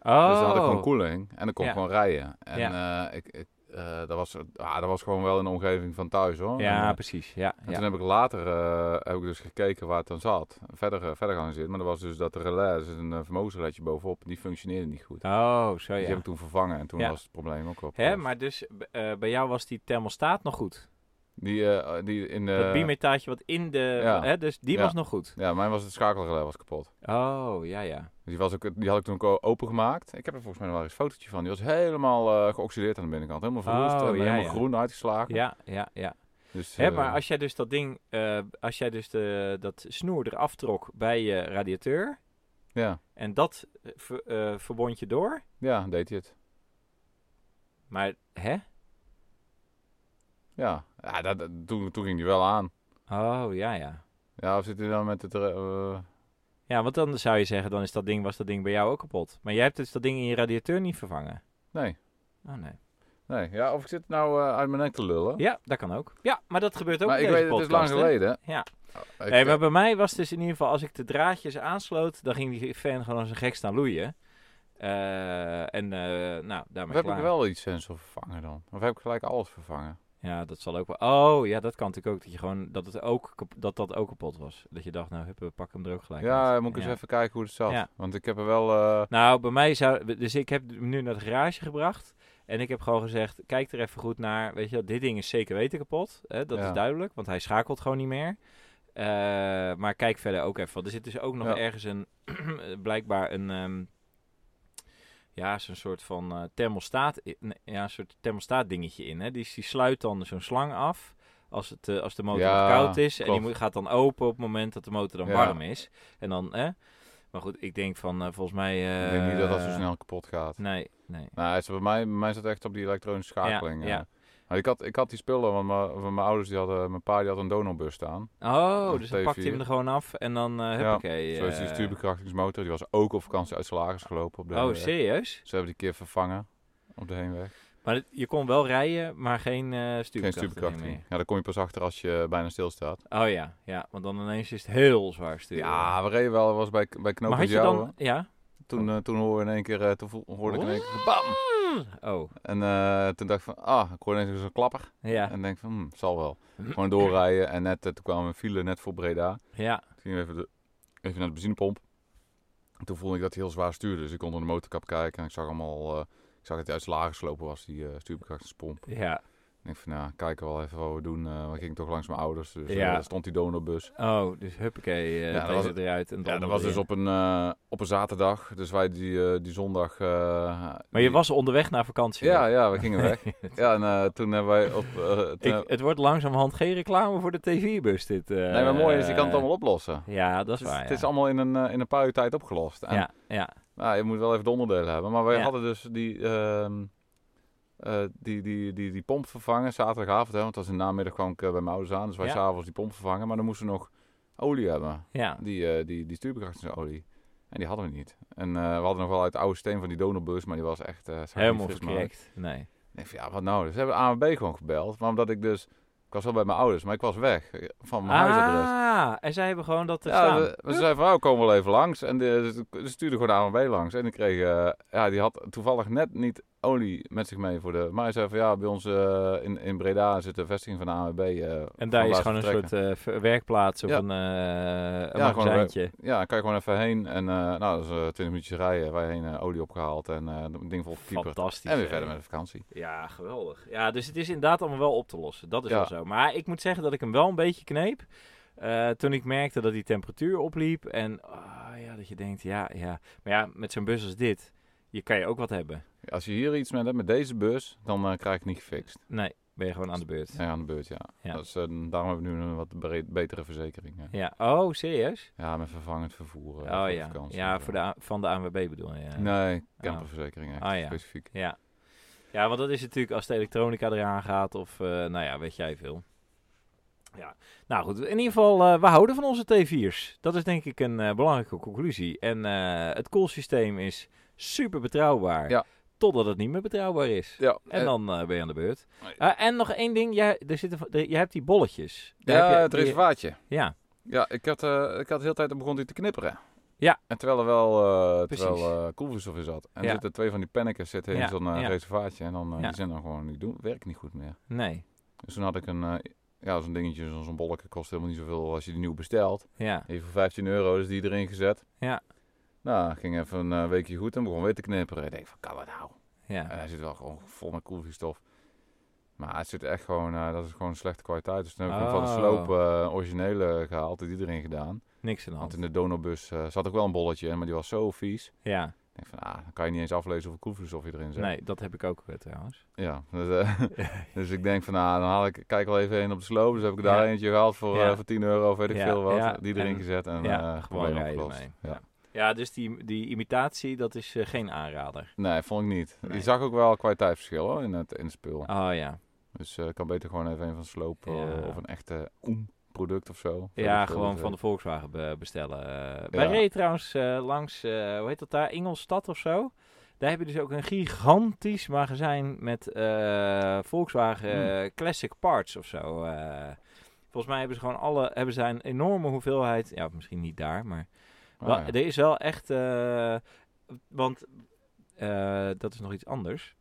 Speaker 1: Oh.
Speaker 2: Dus dan had ik gewoon koeling en dan kon ik
Speaker 1: Ja.
Speaker 2: gewoon rijden. En eh, ik, ik, eh, dat, was, ah, dat was gewoon wel in de omgeving van thuis hoor. En,
Speaker 1: Ja,
Speaker 2: eh,
Speaker 1: precies. Ja,
Speaker 2: En
Speaker 1: ja.
Speaker 2: toen heb ik later eh, heb ik dus gekeken waar het dan zat. Verder, eh, verder gaan zitten. Maar dat was dus dat de relais, er zit een eh, vermogensreletje bovenop, en die functioneerde niet goed.
Speaker 1: Oh, zo
Speaker 2: Dus die
Speaker 1: ja.
Speaker 2: heb ik toen vervangen en toen
Speaker 1: Ja.
Speaker 2: was het probleem ook op. eh,
Speaker 1: Hè, maar dus b- eh, bij jou was die thermostaat nog goed.
Speaker 2: Die, eh, die in de...
Speaker 1: dat bimetaatje wat in de...
Speaker 2: ja.
Speaker 1: Hè, dus die
Speaker 2: Ja.
Speaker 1: was nog goed.
Speaker 2: Ja, mijn was het schakelrelais was kapot.
Speaker 1: Oh, ja, ja.
Speaker 2: Dus die, was ook, die had ik toen ook al opengemaakt. Ik heb er volgens mij nog wel eens een fotootje van. Die was helemaal eh, geoxideerd aan de binnenkant. Helemaal verroest
Speaker 1: Oh,
Speaker 2: en
Speaker 1: ja,
Speaker 2: helemaal
Speaker 1: ja.
Speaker 2: groen uitgeslagen.
Speaker 1: Ja, ja, ja.
Speaker 2: Dus,
Speaker 1: Hè,
Speaker 2: eh,
Speaker 1: maar als jij dus dat ding... eh, als jij dus de, dat snoer eraf trok bij je radiateur...
Speaker 2: ja,
Speaker 1: En dat eh, ver- eh, verbond je door.
Speaker 2: ja, deed hij het.
Speaker 1: Maar, hè?
Speaker 2: Ja, ja dat, dat- toen, toen ging die wel aan.
Speaker 1: Oh, ja, ja.
Speaker 2: Ja, of zit hij dan met het... eh, eh,
Speaker 1: Ja, want dan zou je zeggen, dan is dat ding, was dat ding bij jou ook kapot. Maar jij hebt dus dat ding in je radiateur niet vervangen.
Speaker 2: nee,
Speaker 1: Oh, nee.
Speaker 2: nee. Ja, of ik zit nou eh, uit mijn nek te lullen.
Speaker 1: Ja, dat kan ook. Ja, maar dat gebeurt ook
Speaker 2: maar
Speaker 1: in
Speaker 2: ik
Speaker 1: deze
Speaker 2: weet, het is lang
Speaker 1: podcast, hè?
Speaker 2: geleden.
Speaker 1: Ja.
Speaker 2: Ik- eh,
Speaker 1: Nee, maar bij mij was dus in ieder geval, als ik de draadjes aansloot, dan ging die fan gewoon als een gek staan loeien. Eh, en, eh, nou,
Speaker 2: Of
Speaker 1: daarmee
Speaker 2: heb
Speaker 1: klaar.
Speaker 2: ik wel iets sensor vervangen dan? Of heb ik gelijk alles vervangen?
Speaker 1: Ja, dat zal ook wel. Oh, ja, dat kan natuurlijk ook. Dat je gewoon, dat het ook, kap- dat dat ook kapot was. Dat je dacht, nou, hup, we pakken hem er ook gelijk
Speaker 2: ja,
Speaker 1: uit.
Speaker 2: moet ik
Speaker 1: Ja.
Speaker 2: eens even kijken hoe het zat.
Speaker 1: Ja.
Speaker 2: Want ik heb er wel... eh,
Speaker 1: Nou, bij mij zou. Dus ik heb hem nu naar de garage gebracht. En ik heb gewoon gezegd: kijk er even goed naar. Weet je, wel, dit ding is zeker weten kapot. Hè? Dat
Speaker 2: Ja.
Speaker 1: is duidelijk, want hij schakelt gewoon niet meer. Eh, maar kijk verder ook even. Want er zit dus ook nog
Speaker 2: Ja.
Speaker 1: ergens een. (clears throat) blijkbaar een. ehm, ja, zo'n soort van eh, thermostaat. i- nee, Ja, een soort thermostaat dingetje in. Hè? Die, die sluit dan zo'n slang af. Als, het, eh, als de motor
Speaker 2: Ja,
Speaker 1: nog koud is. En
Speaker 2: klopt.
Speaker 1: die moet- gaat dan open op het moment dat de motor dan
Speaker 2: Ja.
Speaker 1: warm is. En dan. hè? Maar goed, ik denk van eh, volgens mij. eh,
Speaker 2: ik denk niet dat dat zo snel kapot gaat.
Speaker 1: Nee, nee.
Speaker 2: Nou, het is bij mij, bij mij zat echt op die elektronische schakeling.
Speaker 1: Ja,
Speaker 2: Ja,
Speaker 1: ja.
Speaker 2: Maar ik, had, ik had die spullen, want mijn, want mijn ouders, die hadden, mijn pa die had een donorbus staan.
Speaker 1: Oh,
Speaker 2: Of
Speaker 1: dus dan pakt hij
Speaker 2: T4.
Speaker 1: hem er gewoon af en dan. eh huppakee.
Speaker 2: Zo is die
Speaker 1: eh.
Speaker 2: stuurbekrachtingsmotor, die was ook op vakantie uit Salagers gelopen op de
Speaker 1: Oh,
Speaker 2: heenweg.
Speaker 1: serieus?
Speaker 2: Ze hebben die keer vervangen op de heenweg.
Speaker 1: Maar het- je kon wel rijden, maar geen eh
Speaker 2: Geen
Speaker 1: stuurbekrachtiging
Speaker 2: stuurbekrachtiging.
Speaker 1: meer.
Speaker 2: Ja, daar kom je pas achter als je bijna stilstaat.
Speaker 1: Oh ja, ja, want dan ineens is het heel zwaar sturen.
Speaker 2: Ja, we reden wel, was bij, bij
Speaker 1: maar
Speaker 2: knooppunt
Speaker 1: had je
Speaker 2: Jouwen.
Speaker 1: dan. Oh. Ja?
Speaker 2: Toen, eh, toen hoorde, in één keer, eh, toen voel- hoorde ik in één keer, bam!
Speaker 1: Oh,
Speaker 2: En eh, toen dacht ik van, ah, ik hoorde ineens zo'n klapper.
Speaker 1: ja.
Speaker 2: En denk van, hm, zal wel. Gewoon doorrijden. En net, eh, toen kwamen we file net voor Breda.
Speaker 1: Ja.
Speaker 2: Toen gingen we even, de- even naar de benzinepomp. En toen voelde ik dat hij heel zwaar stuurde. Dus ik kon onder de motorkap kijken en ik zag allemaal... eh, ik zag dat hij uit zijn lagen geslopen was, die eh stuurbekrachtigingspomp.
Speaker 1: Ja.
Speaker 2: En ik van, nou, kijken we wel even wat we doen. Eh we gingen toch langs mijn ouders, dus eh,
Speaker 1: Ja.
Speaker 2: daar stond die donorbus.
Speaker 1: Oh, dus huppakee. eh
Speaker 2: Ja,
Speaker 1: ja,
Speaker 2: dat was-
Speaker 1: eruit. En het
Speaker 2: Ja, dat
Speaker 1: andere
Speaker 2: was dus
Speaker 1: weer.
Speaker 2: op een, eh, op een zaterdag. Dus wij die, eh, die zondag... eh,
Speaker 1: Maar je
Speaker 2: die-
Speaker 1: was onderweg naar vakantie.
Speaker 2: Ja, ja, we gingen
Speaker 1: (laughs)
Speaker 2: weg. ja, en eh, toen hebben wij op... eh, toen
Speaker 1: Ik, het wordt langzamerhand geen reclame voor de TV-bus, dit. eh,
Speaker 2: Nee, maar mooi is, je kan het allemaal oplossen.
Speaker 1: Ja, dat is
Speaker 2: Het is,
Speaker 1: waar.
Speaker 2: Dus het
Speaker 1: ja.
Speaker 2: is allemaal in een, eh, in een paar uur tijd opgelost. En
Speaker 1: Ja, ja.
Speaker 2: Nou, je moet wel even de onderdelen hebben. Maar wij
Speaker 1: Ja.
Speaker 2: hadden dus die, ehm, eh, die, die, die, die pomp vervangen zaterdagavond. Hè, want dat was in de namiddag kwam ik eh, bij mijn ouders aan. Dus wij
Speaker 1: Ja.
Speaker 2: s'avonds die pomp vervangen. Maar dan moesten we nog olie hebben.
Speaker 1: ja.
Speaker 2: Die, eh, die, die stuurbekrachtigingsolie. En die hadden we niet. En eh, we hadden nog wel uit het oude steen van die donorbus. Maar die was echt... eh, zag er
Speaker 1: Helemaal
Speaker 2: niet fris meer uit.
Speaker 1: verkrekt. Nee.
Speaker 2: Ik denk van, ja, wat nou? Dus we hebben ANWB gewoon gebeld. Maar omdat ik dus... Ik was wel bij mijn ouders, maar ik was weg. eh, Van mijn huisadres.
Speaker 1: Ah, en zij hebben gewoon dat te
Speaker 2: Ja,
Speaker 1: staan.
Speaker 2: we, we zeiden van, oh, komen wel even langs. En de, ze stuurden gewoon de ANWB langs. En ik kreeg, eh, ja, die had toevallig net niet olie met zich mee voor de... Maar hij zei van, ja, bij ons eh, in, in Breda zit de vestiging van de ANWB. eh,
Speaker 1: en
Speaker 2: van
Speaker 1: daar is
Speaker 2: laat
Speaker 1: gewoon een
Speaker 2: vertrekken.
Speaker 1: soort eh, ver- werkplaats of
Speaker 2: Ja.
Speaker 1: een, eh een
Speaker 2: Ja, gewoon een
Speaker 1: magazijntje.
Speaker 2: Ja, kan je gewoon even heen. En eh, nou, dat is eh, 20 minuutjes rijden. Wij heen eh, olie opgehaald en eh het ding vol gekieper.
Speaker 1: Fantastisch.
Speaker 2: En weer
Speaker 1: hè.
Speaker 2: verder met de vakantie.
Speaker 1: Ja, geweldig. Ja, dus het is inderdaad allemaal wel op te lossen. Dat is
Speaker 2: Ja.
Speaker 1: wel zo. Maar ik moet zeggen dat ik hem wel een beetje kneep. eh, toen ik merkte dat die temperatuur opliep. En ah, ja, dat je denkt, ja, ja. Maar ja, met zo'n bus als dit, je kan je ook wat hebben.
Speaker 2: Als je hier iets met hebt, met deze bus, dan eh, krijg ik het niet gefixt.
Speaker 1: Nee, ben je gewoon aan de beurt.
Speaker 2: Ja, aan de beurt, ja.
Speaker 1: Ja.
Speaker 2: Dus, eh, daarom hebben we nu een wat bre- betere verzekering. eh.
Speaker 1: Ja, oh, serieus?
Speaker 2: Ja, met vervangend vervoer. eh,
Speaker 1: oh
Speaker 2: voor
Speaker 1: ja,
Speaker 2: vakantie en
Speaker 1: ja
Speaker 2: zo.
Speaker 1: voor de, A- van de ANWB bedoel je?
Speaker 2: Nee, camperverzekering echt
Speaker 1: Ah, ja.
Speaker 2: specifiek.
Speaker 1: Ja. ja, want dat is natuurlijk als de elektronica eraan gaat of eh, nou ja, weet jij veel. Ja, nou goed, in ieder geval, eh, we houden van onze T4's. Dat is denk ik een eh, belangrijke conclusie. En eh, het koelsysteem is super betrouwbaar,
Speaker 2: Ja.
Speaker 1: totdat het niet meer betrouwbaar is.
Speaker 2: Ja,
Speaker 1: En dan eh, ben je aan de beurt.
Speaker 2: Nee.
Speaker 1: Ah, en nog één ding, jij, er zitten, van- er- jij hebt die bolletjes. Daar
Speaker 2: ja,
Speaker 1: heb je-
Speaker 2: het
Speaker 1: die-
Speaker 2: reservaatje.
Speaker 1: Ja,
Speaker 2: Ja, ik had, eh, ik had de hele tijd, dan begon hij te knipperen.
Speaker 1: Ja.
Speaker 2: En terwijl er wel eh
Speaker 1: Precies.
Speaker 2: terwijl, eh koelvoedsel in zat. En
Speaker 1: Ja.
Speaker 2: er zitten twee van die pennekes zitten in
Speaker 1: Ja,
Speaker 2: zo'n eh,
Speaker 1: ja.
Speaker 2: reservaatje. En dan eh,
Speaker 1: Ja.
Speaker 2: die zijn dan gewoon niet doen, werkt niet goed meer.
Speaker 1: nee,
Speaker 2: Dus toen had ik een, eh, ja, zo'n dingetje, zo'n zo'n bolletje kost helemaal niet zoveel als je die nieuw bestelt.
Speaker 1: ja.
Speaker 2: Even voor 15 euro is die erin gezet.
Speaker 1: Ja.
Speaker 2: Nou, ging even een eh, weekje goed en begon weer te knipperen. Ik denk van, kan dat nou?
Speaker 1: ja.
Speaker 2: En hij zit wel gewoon vol met koelvloeistof. Maar het zit echt gewoon, eh, dat is gewoon slechte kwaliteit. Dus toen heb ik hem van de
Speaker 1: Oh.
Speaker 2: sloop eh, originele gehaald, die erin gedaan.
Speaker 1: Niks aan de
Speaker 2: Want
Speaker 1: hand.
Speaker 2: in de donorbus eh, zat ook wel een bolletje in, maar die was zo vies.
Speaker 1: Ja,
Speaker 2: Ik denk van, ah, dan kan je niet eens aflezen hoeveel koelvloeistof je erin zet.
Speaker 1: nee, dat heb ik ook eh, trouwens.
Speaker 2: Ja, dus, eh, (laughs) dus ik denk van, nou, dan haal ik, kijk wel even een op de sloop. Dus heb ik daar
Speaker 1: Ja.
Speaker 2: eentje gehaald voor,
Speaker 1: Ja.
Speaker 2: eh, voor 10 euro of weet ik
Speaker 1: Ja,
Speaker 2: veel wat.
Speaker 1: ja.
Speaker 2: Die erin
Speaker 1: En-
Speaker 2: gezet en
Speaker 1: ja, gewoon
Speaker 2: eh, probleem
Speaker 1: rijden
Speaker 2: opgelost.
Speaker 1: mee.
Speaker 2: Ja.
Speaker 1: Ja, dus die, die imitatie, dat is eh, geen aanrader.
Speaker 2: Nee, vond ik niet.
Speaker 1: Nee.
Speaker 2: Je zag ook wel kwaliteitsverschil hoor, in, het, in het spul.
Speaker 1: Oh ja.
Speaker 2: Dus eh, ik kan beter gewoon even een van sloop eh,
Speaker 1: Ja.
Speaker 2: of een echte oem product of zo. Weet
Speaker 1: Ja,
Speaker 2: ik veel,
Speaker 1: gewoon
Speaker 2: dat,
Speaker 1: van de
Speaker 2: eh,
Speaker 1: Volkswagen be- bestellen. Eh, Wij
Speaker 2: Ja.
Speaker 1: reden trouwens eh, langs, eh, hoe heet dat daar, Ingolstad of zo. Daar heb je dus ook een gigantisch magazijn met eh, Volkswagen
Speaker 2: Mm.
Speaker 1: eh, Classic Parts of zo. eh. volgens mij hebben ze gewoon alle, hebben zij een enorme hoeveelheid, ja misschien niet daar, maar
Speaker 2: ah,
Speaker 1: wel,
Speaker 2: ja.
Speaker 1: er is wel echt, eh, want eh, dat is nog iets anders.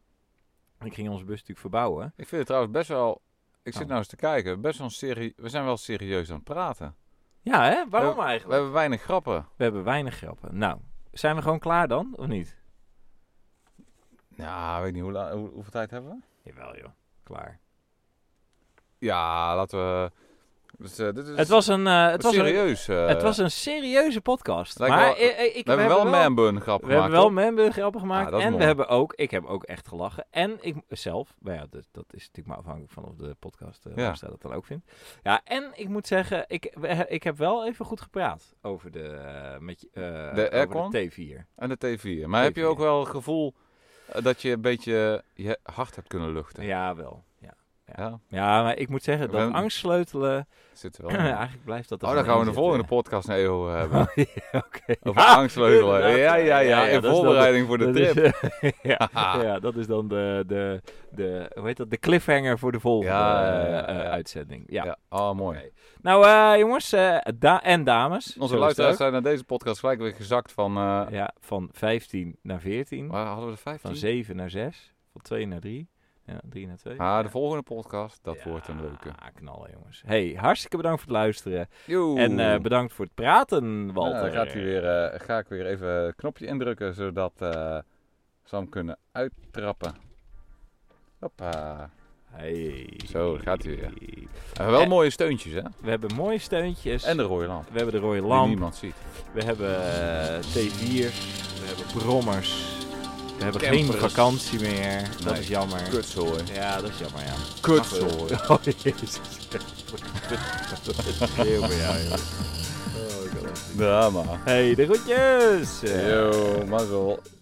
Speaker 1: Ik ging onze bus natuurlijk verbouwen.
Speaker 2: Ik vind het trouwens best wel, ik zit
Speaker 1: Oh.
Speaker 2: nou eens te kijken, best wel een serie, we zijn wel serieus aan het praten.
Speaker 1: Ja, hè? Waarom
Speaker 2: We
Speaker 1: eigenlijk?
Speaker 2: hebben weinig grappen.
Speaker 1: We hebben weinig grappen. Nou, zijn we gewoon klaar dan, of niet?
Speaker 2: Ja, ik weet niet, hoe, la- hoe, hoeveel tijd hebben we?
Speaker 1: Jawel joh, klaar.
Speaker 2: Ja, laten we. Dus, eh, dit is
Speaker 1: Het was een, eh, het was een,
Speaker 2: serieus. eh,
Speaker 1: het was een serieuze podcast.
Speaker 2: Lijkt
Speaker 1: Maar
Speaker 2: wel-
Speaker 1: eh, eh, ik,
Speaker 2: we hebben wel een
Speaker 1: we
Speaker 2: manbun grap gemaakt.
Speaker 1: hebben wel
Speaker 2: hoor.
Speaker 1: member grappen gemaakt.
Speaker 2: Ah, dat is
Speaker 1: en we
Speaker 2: mooi.
Speaker 1: hebben ook, ik heb ook echt gelachen. En ik zelf, nou ja, dat, dat is natuurlijk maar afhankelijk van of de podcast eh
Speaker 2: Ja.
Speaker 1: ja. dat dan ook vindt. Ja, en ik moet zeggen, ik, we- ik heb wel even goed gepraat over de, eh, met, je- eh, over
Speaker 2: aircon?
Speaker 1: de T4.
Speaker 2: En de T4. Maar heb je
Speaker 1: T4.
Speaker 2: ook wel het gevoel eh, dat je een beetje je hart hebt kunnen luchten?
Speaker 1: Ja, wel. Ja.
Speaker 2: Ja,
Speaker 1: ja, maar ik moet zeggen, dat
Speaker 2: We-
Speaker 1: angst sleutelen, (clears throat)
Speaker 2: zit er (laughs) wel.
Speaker 1: (laughs)
Speaker 2: in.
Speaker 1: eigenlijk blijft dat er
Speaker 2: oh, dan
Speaker 1: gewoon
Speaker 2: gaan we de
Speaker 1: in
Speaker 2: volgende
Speaker 1: zitten.
Speaker 2: podcast naar EO hebben.
Speaker 1: (laughs) Ja, Oké. (laughs)
Speaker 2: Over
Speaker 1: Ja,
Speaker 2: angstleugelen. Ja,
Speaker 1: inderdaad.
Speaker 2: ja, ja,
Speaker 1: Ja, ja,
Speaker 2: In
Speaker 1: dat is dan
Speaker 2: voorbereiding voor de
Speaker 1: Dat is, (laughs)
Speaker 2: trip.
Speaker 1: ja, ja, dat is dan de, de, de, hoe heet dat, de cliffhanger voor de volgende
Speaker 2: Ja, ja, ja,
Speaker 1: eh,
Speaker 2: ja,
Speaker 1: eh,
Speaker 2: ja.
Speaker 1: uitzending. Ja.
Speaker 2: Ja. Oh, mooi.
Speaker 1: Oké. Nou eh, jongens eh, da- en dames. zo is
Speaker 2: Onze
Speaker 1: het
Speaker 2: luisteraars
Speaker 1: ook.
Speaker 2: zijn naar deze podcast gelijk weer gezakt van... eh,
Speaker 1: Ja, van 15 naar 14.
Speaker 2: Waar hadden we de 15?
Speaker 1: Van 7 naar 6. Van 2 naar 3. Ja, 3 naar 2.
Speaker 2: Ah, de volgende podcast, dat wordt een leuke.
Speaker 1: Ja, knallen jongens. Hey, hartstikke bedankt voor het luisteren.
Speaker 2: Joe.
Speaker 1: En eh, bedankt voor het praten,
Speaker 2: Nou,
Speaker 1: Walter.
Speaker 2: dan gaat hij weer, eh, ga ik weer even het knopje indrukken, zodat eh Sam kunnen uittrappen. Hoppa.
Speaker 1: Hey.
Speaker 2: Zo, daar gaat hij weer. En wel
Speaker 1: Eh.
Speaker 2: mooie steuntjes, hè?
Speaker 1: We hebben mooie steuntjes.
Speaker 2: En de rode lamp.
Speaker 1: We hebben de rode
Speaker 2: Die
Speaker 1: lamp.
Speaker 2: niemand ziet.
Speaker 1: We hebben eh, T4, we hebben brommers, we hebben geen
Speaker 2: Campers.
Speaker 1: vakantie meer. Dat
Speaker 2: Nee.
Speaker 1: is jammer.
Speaker 2: Kutzooi.
Speaker 1: Ja, dat is jammer, ja.
Speaker 2: Kutzooi.
Speaker 1: (laughs) Oh, jezus. Dat is heel bij jou, joh. Oh, ik kan het niet.
Speaker 2: Ja, maar.
Speaker 1: Hey, de groetjes!
Speaker 2: Yo, mazzel.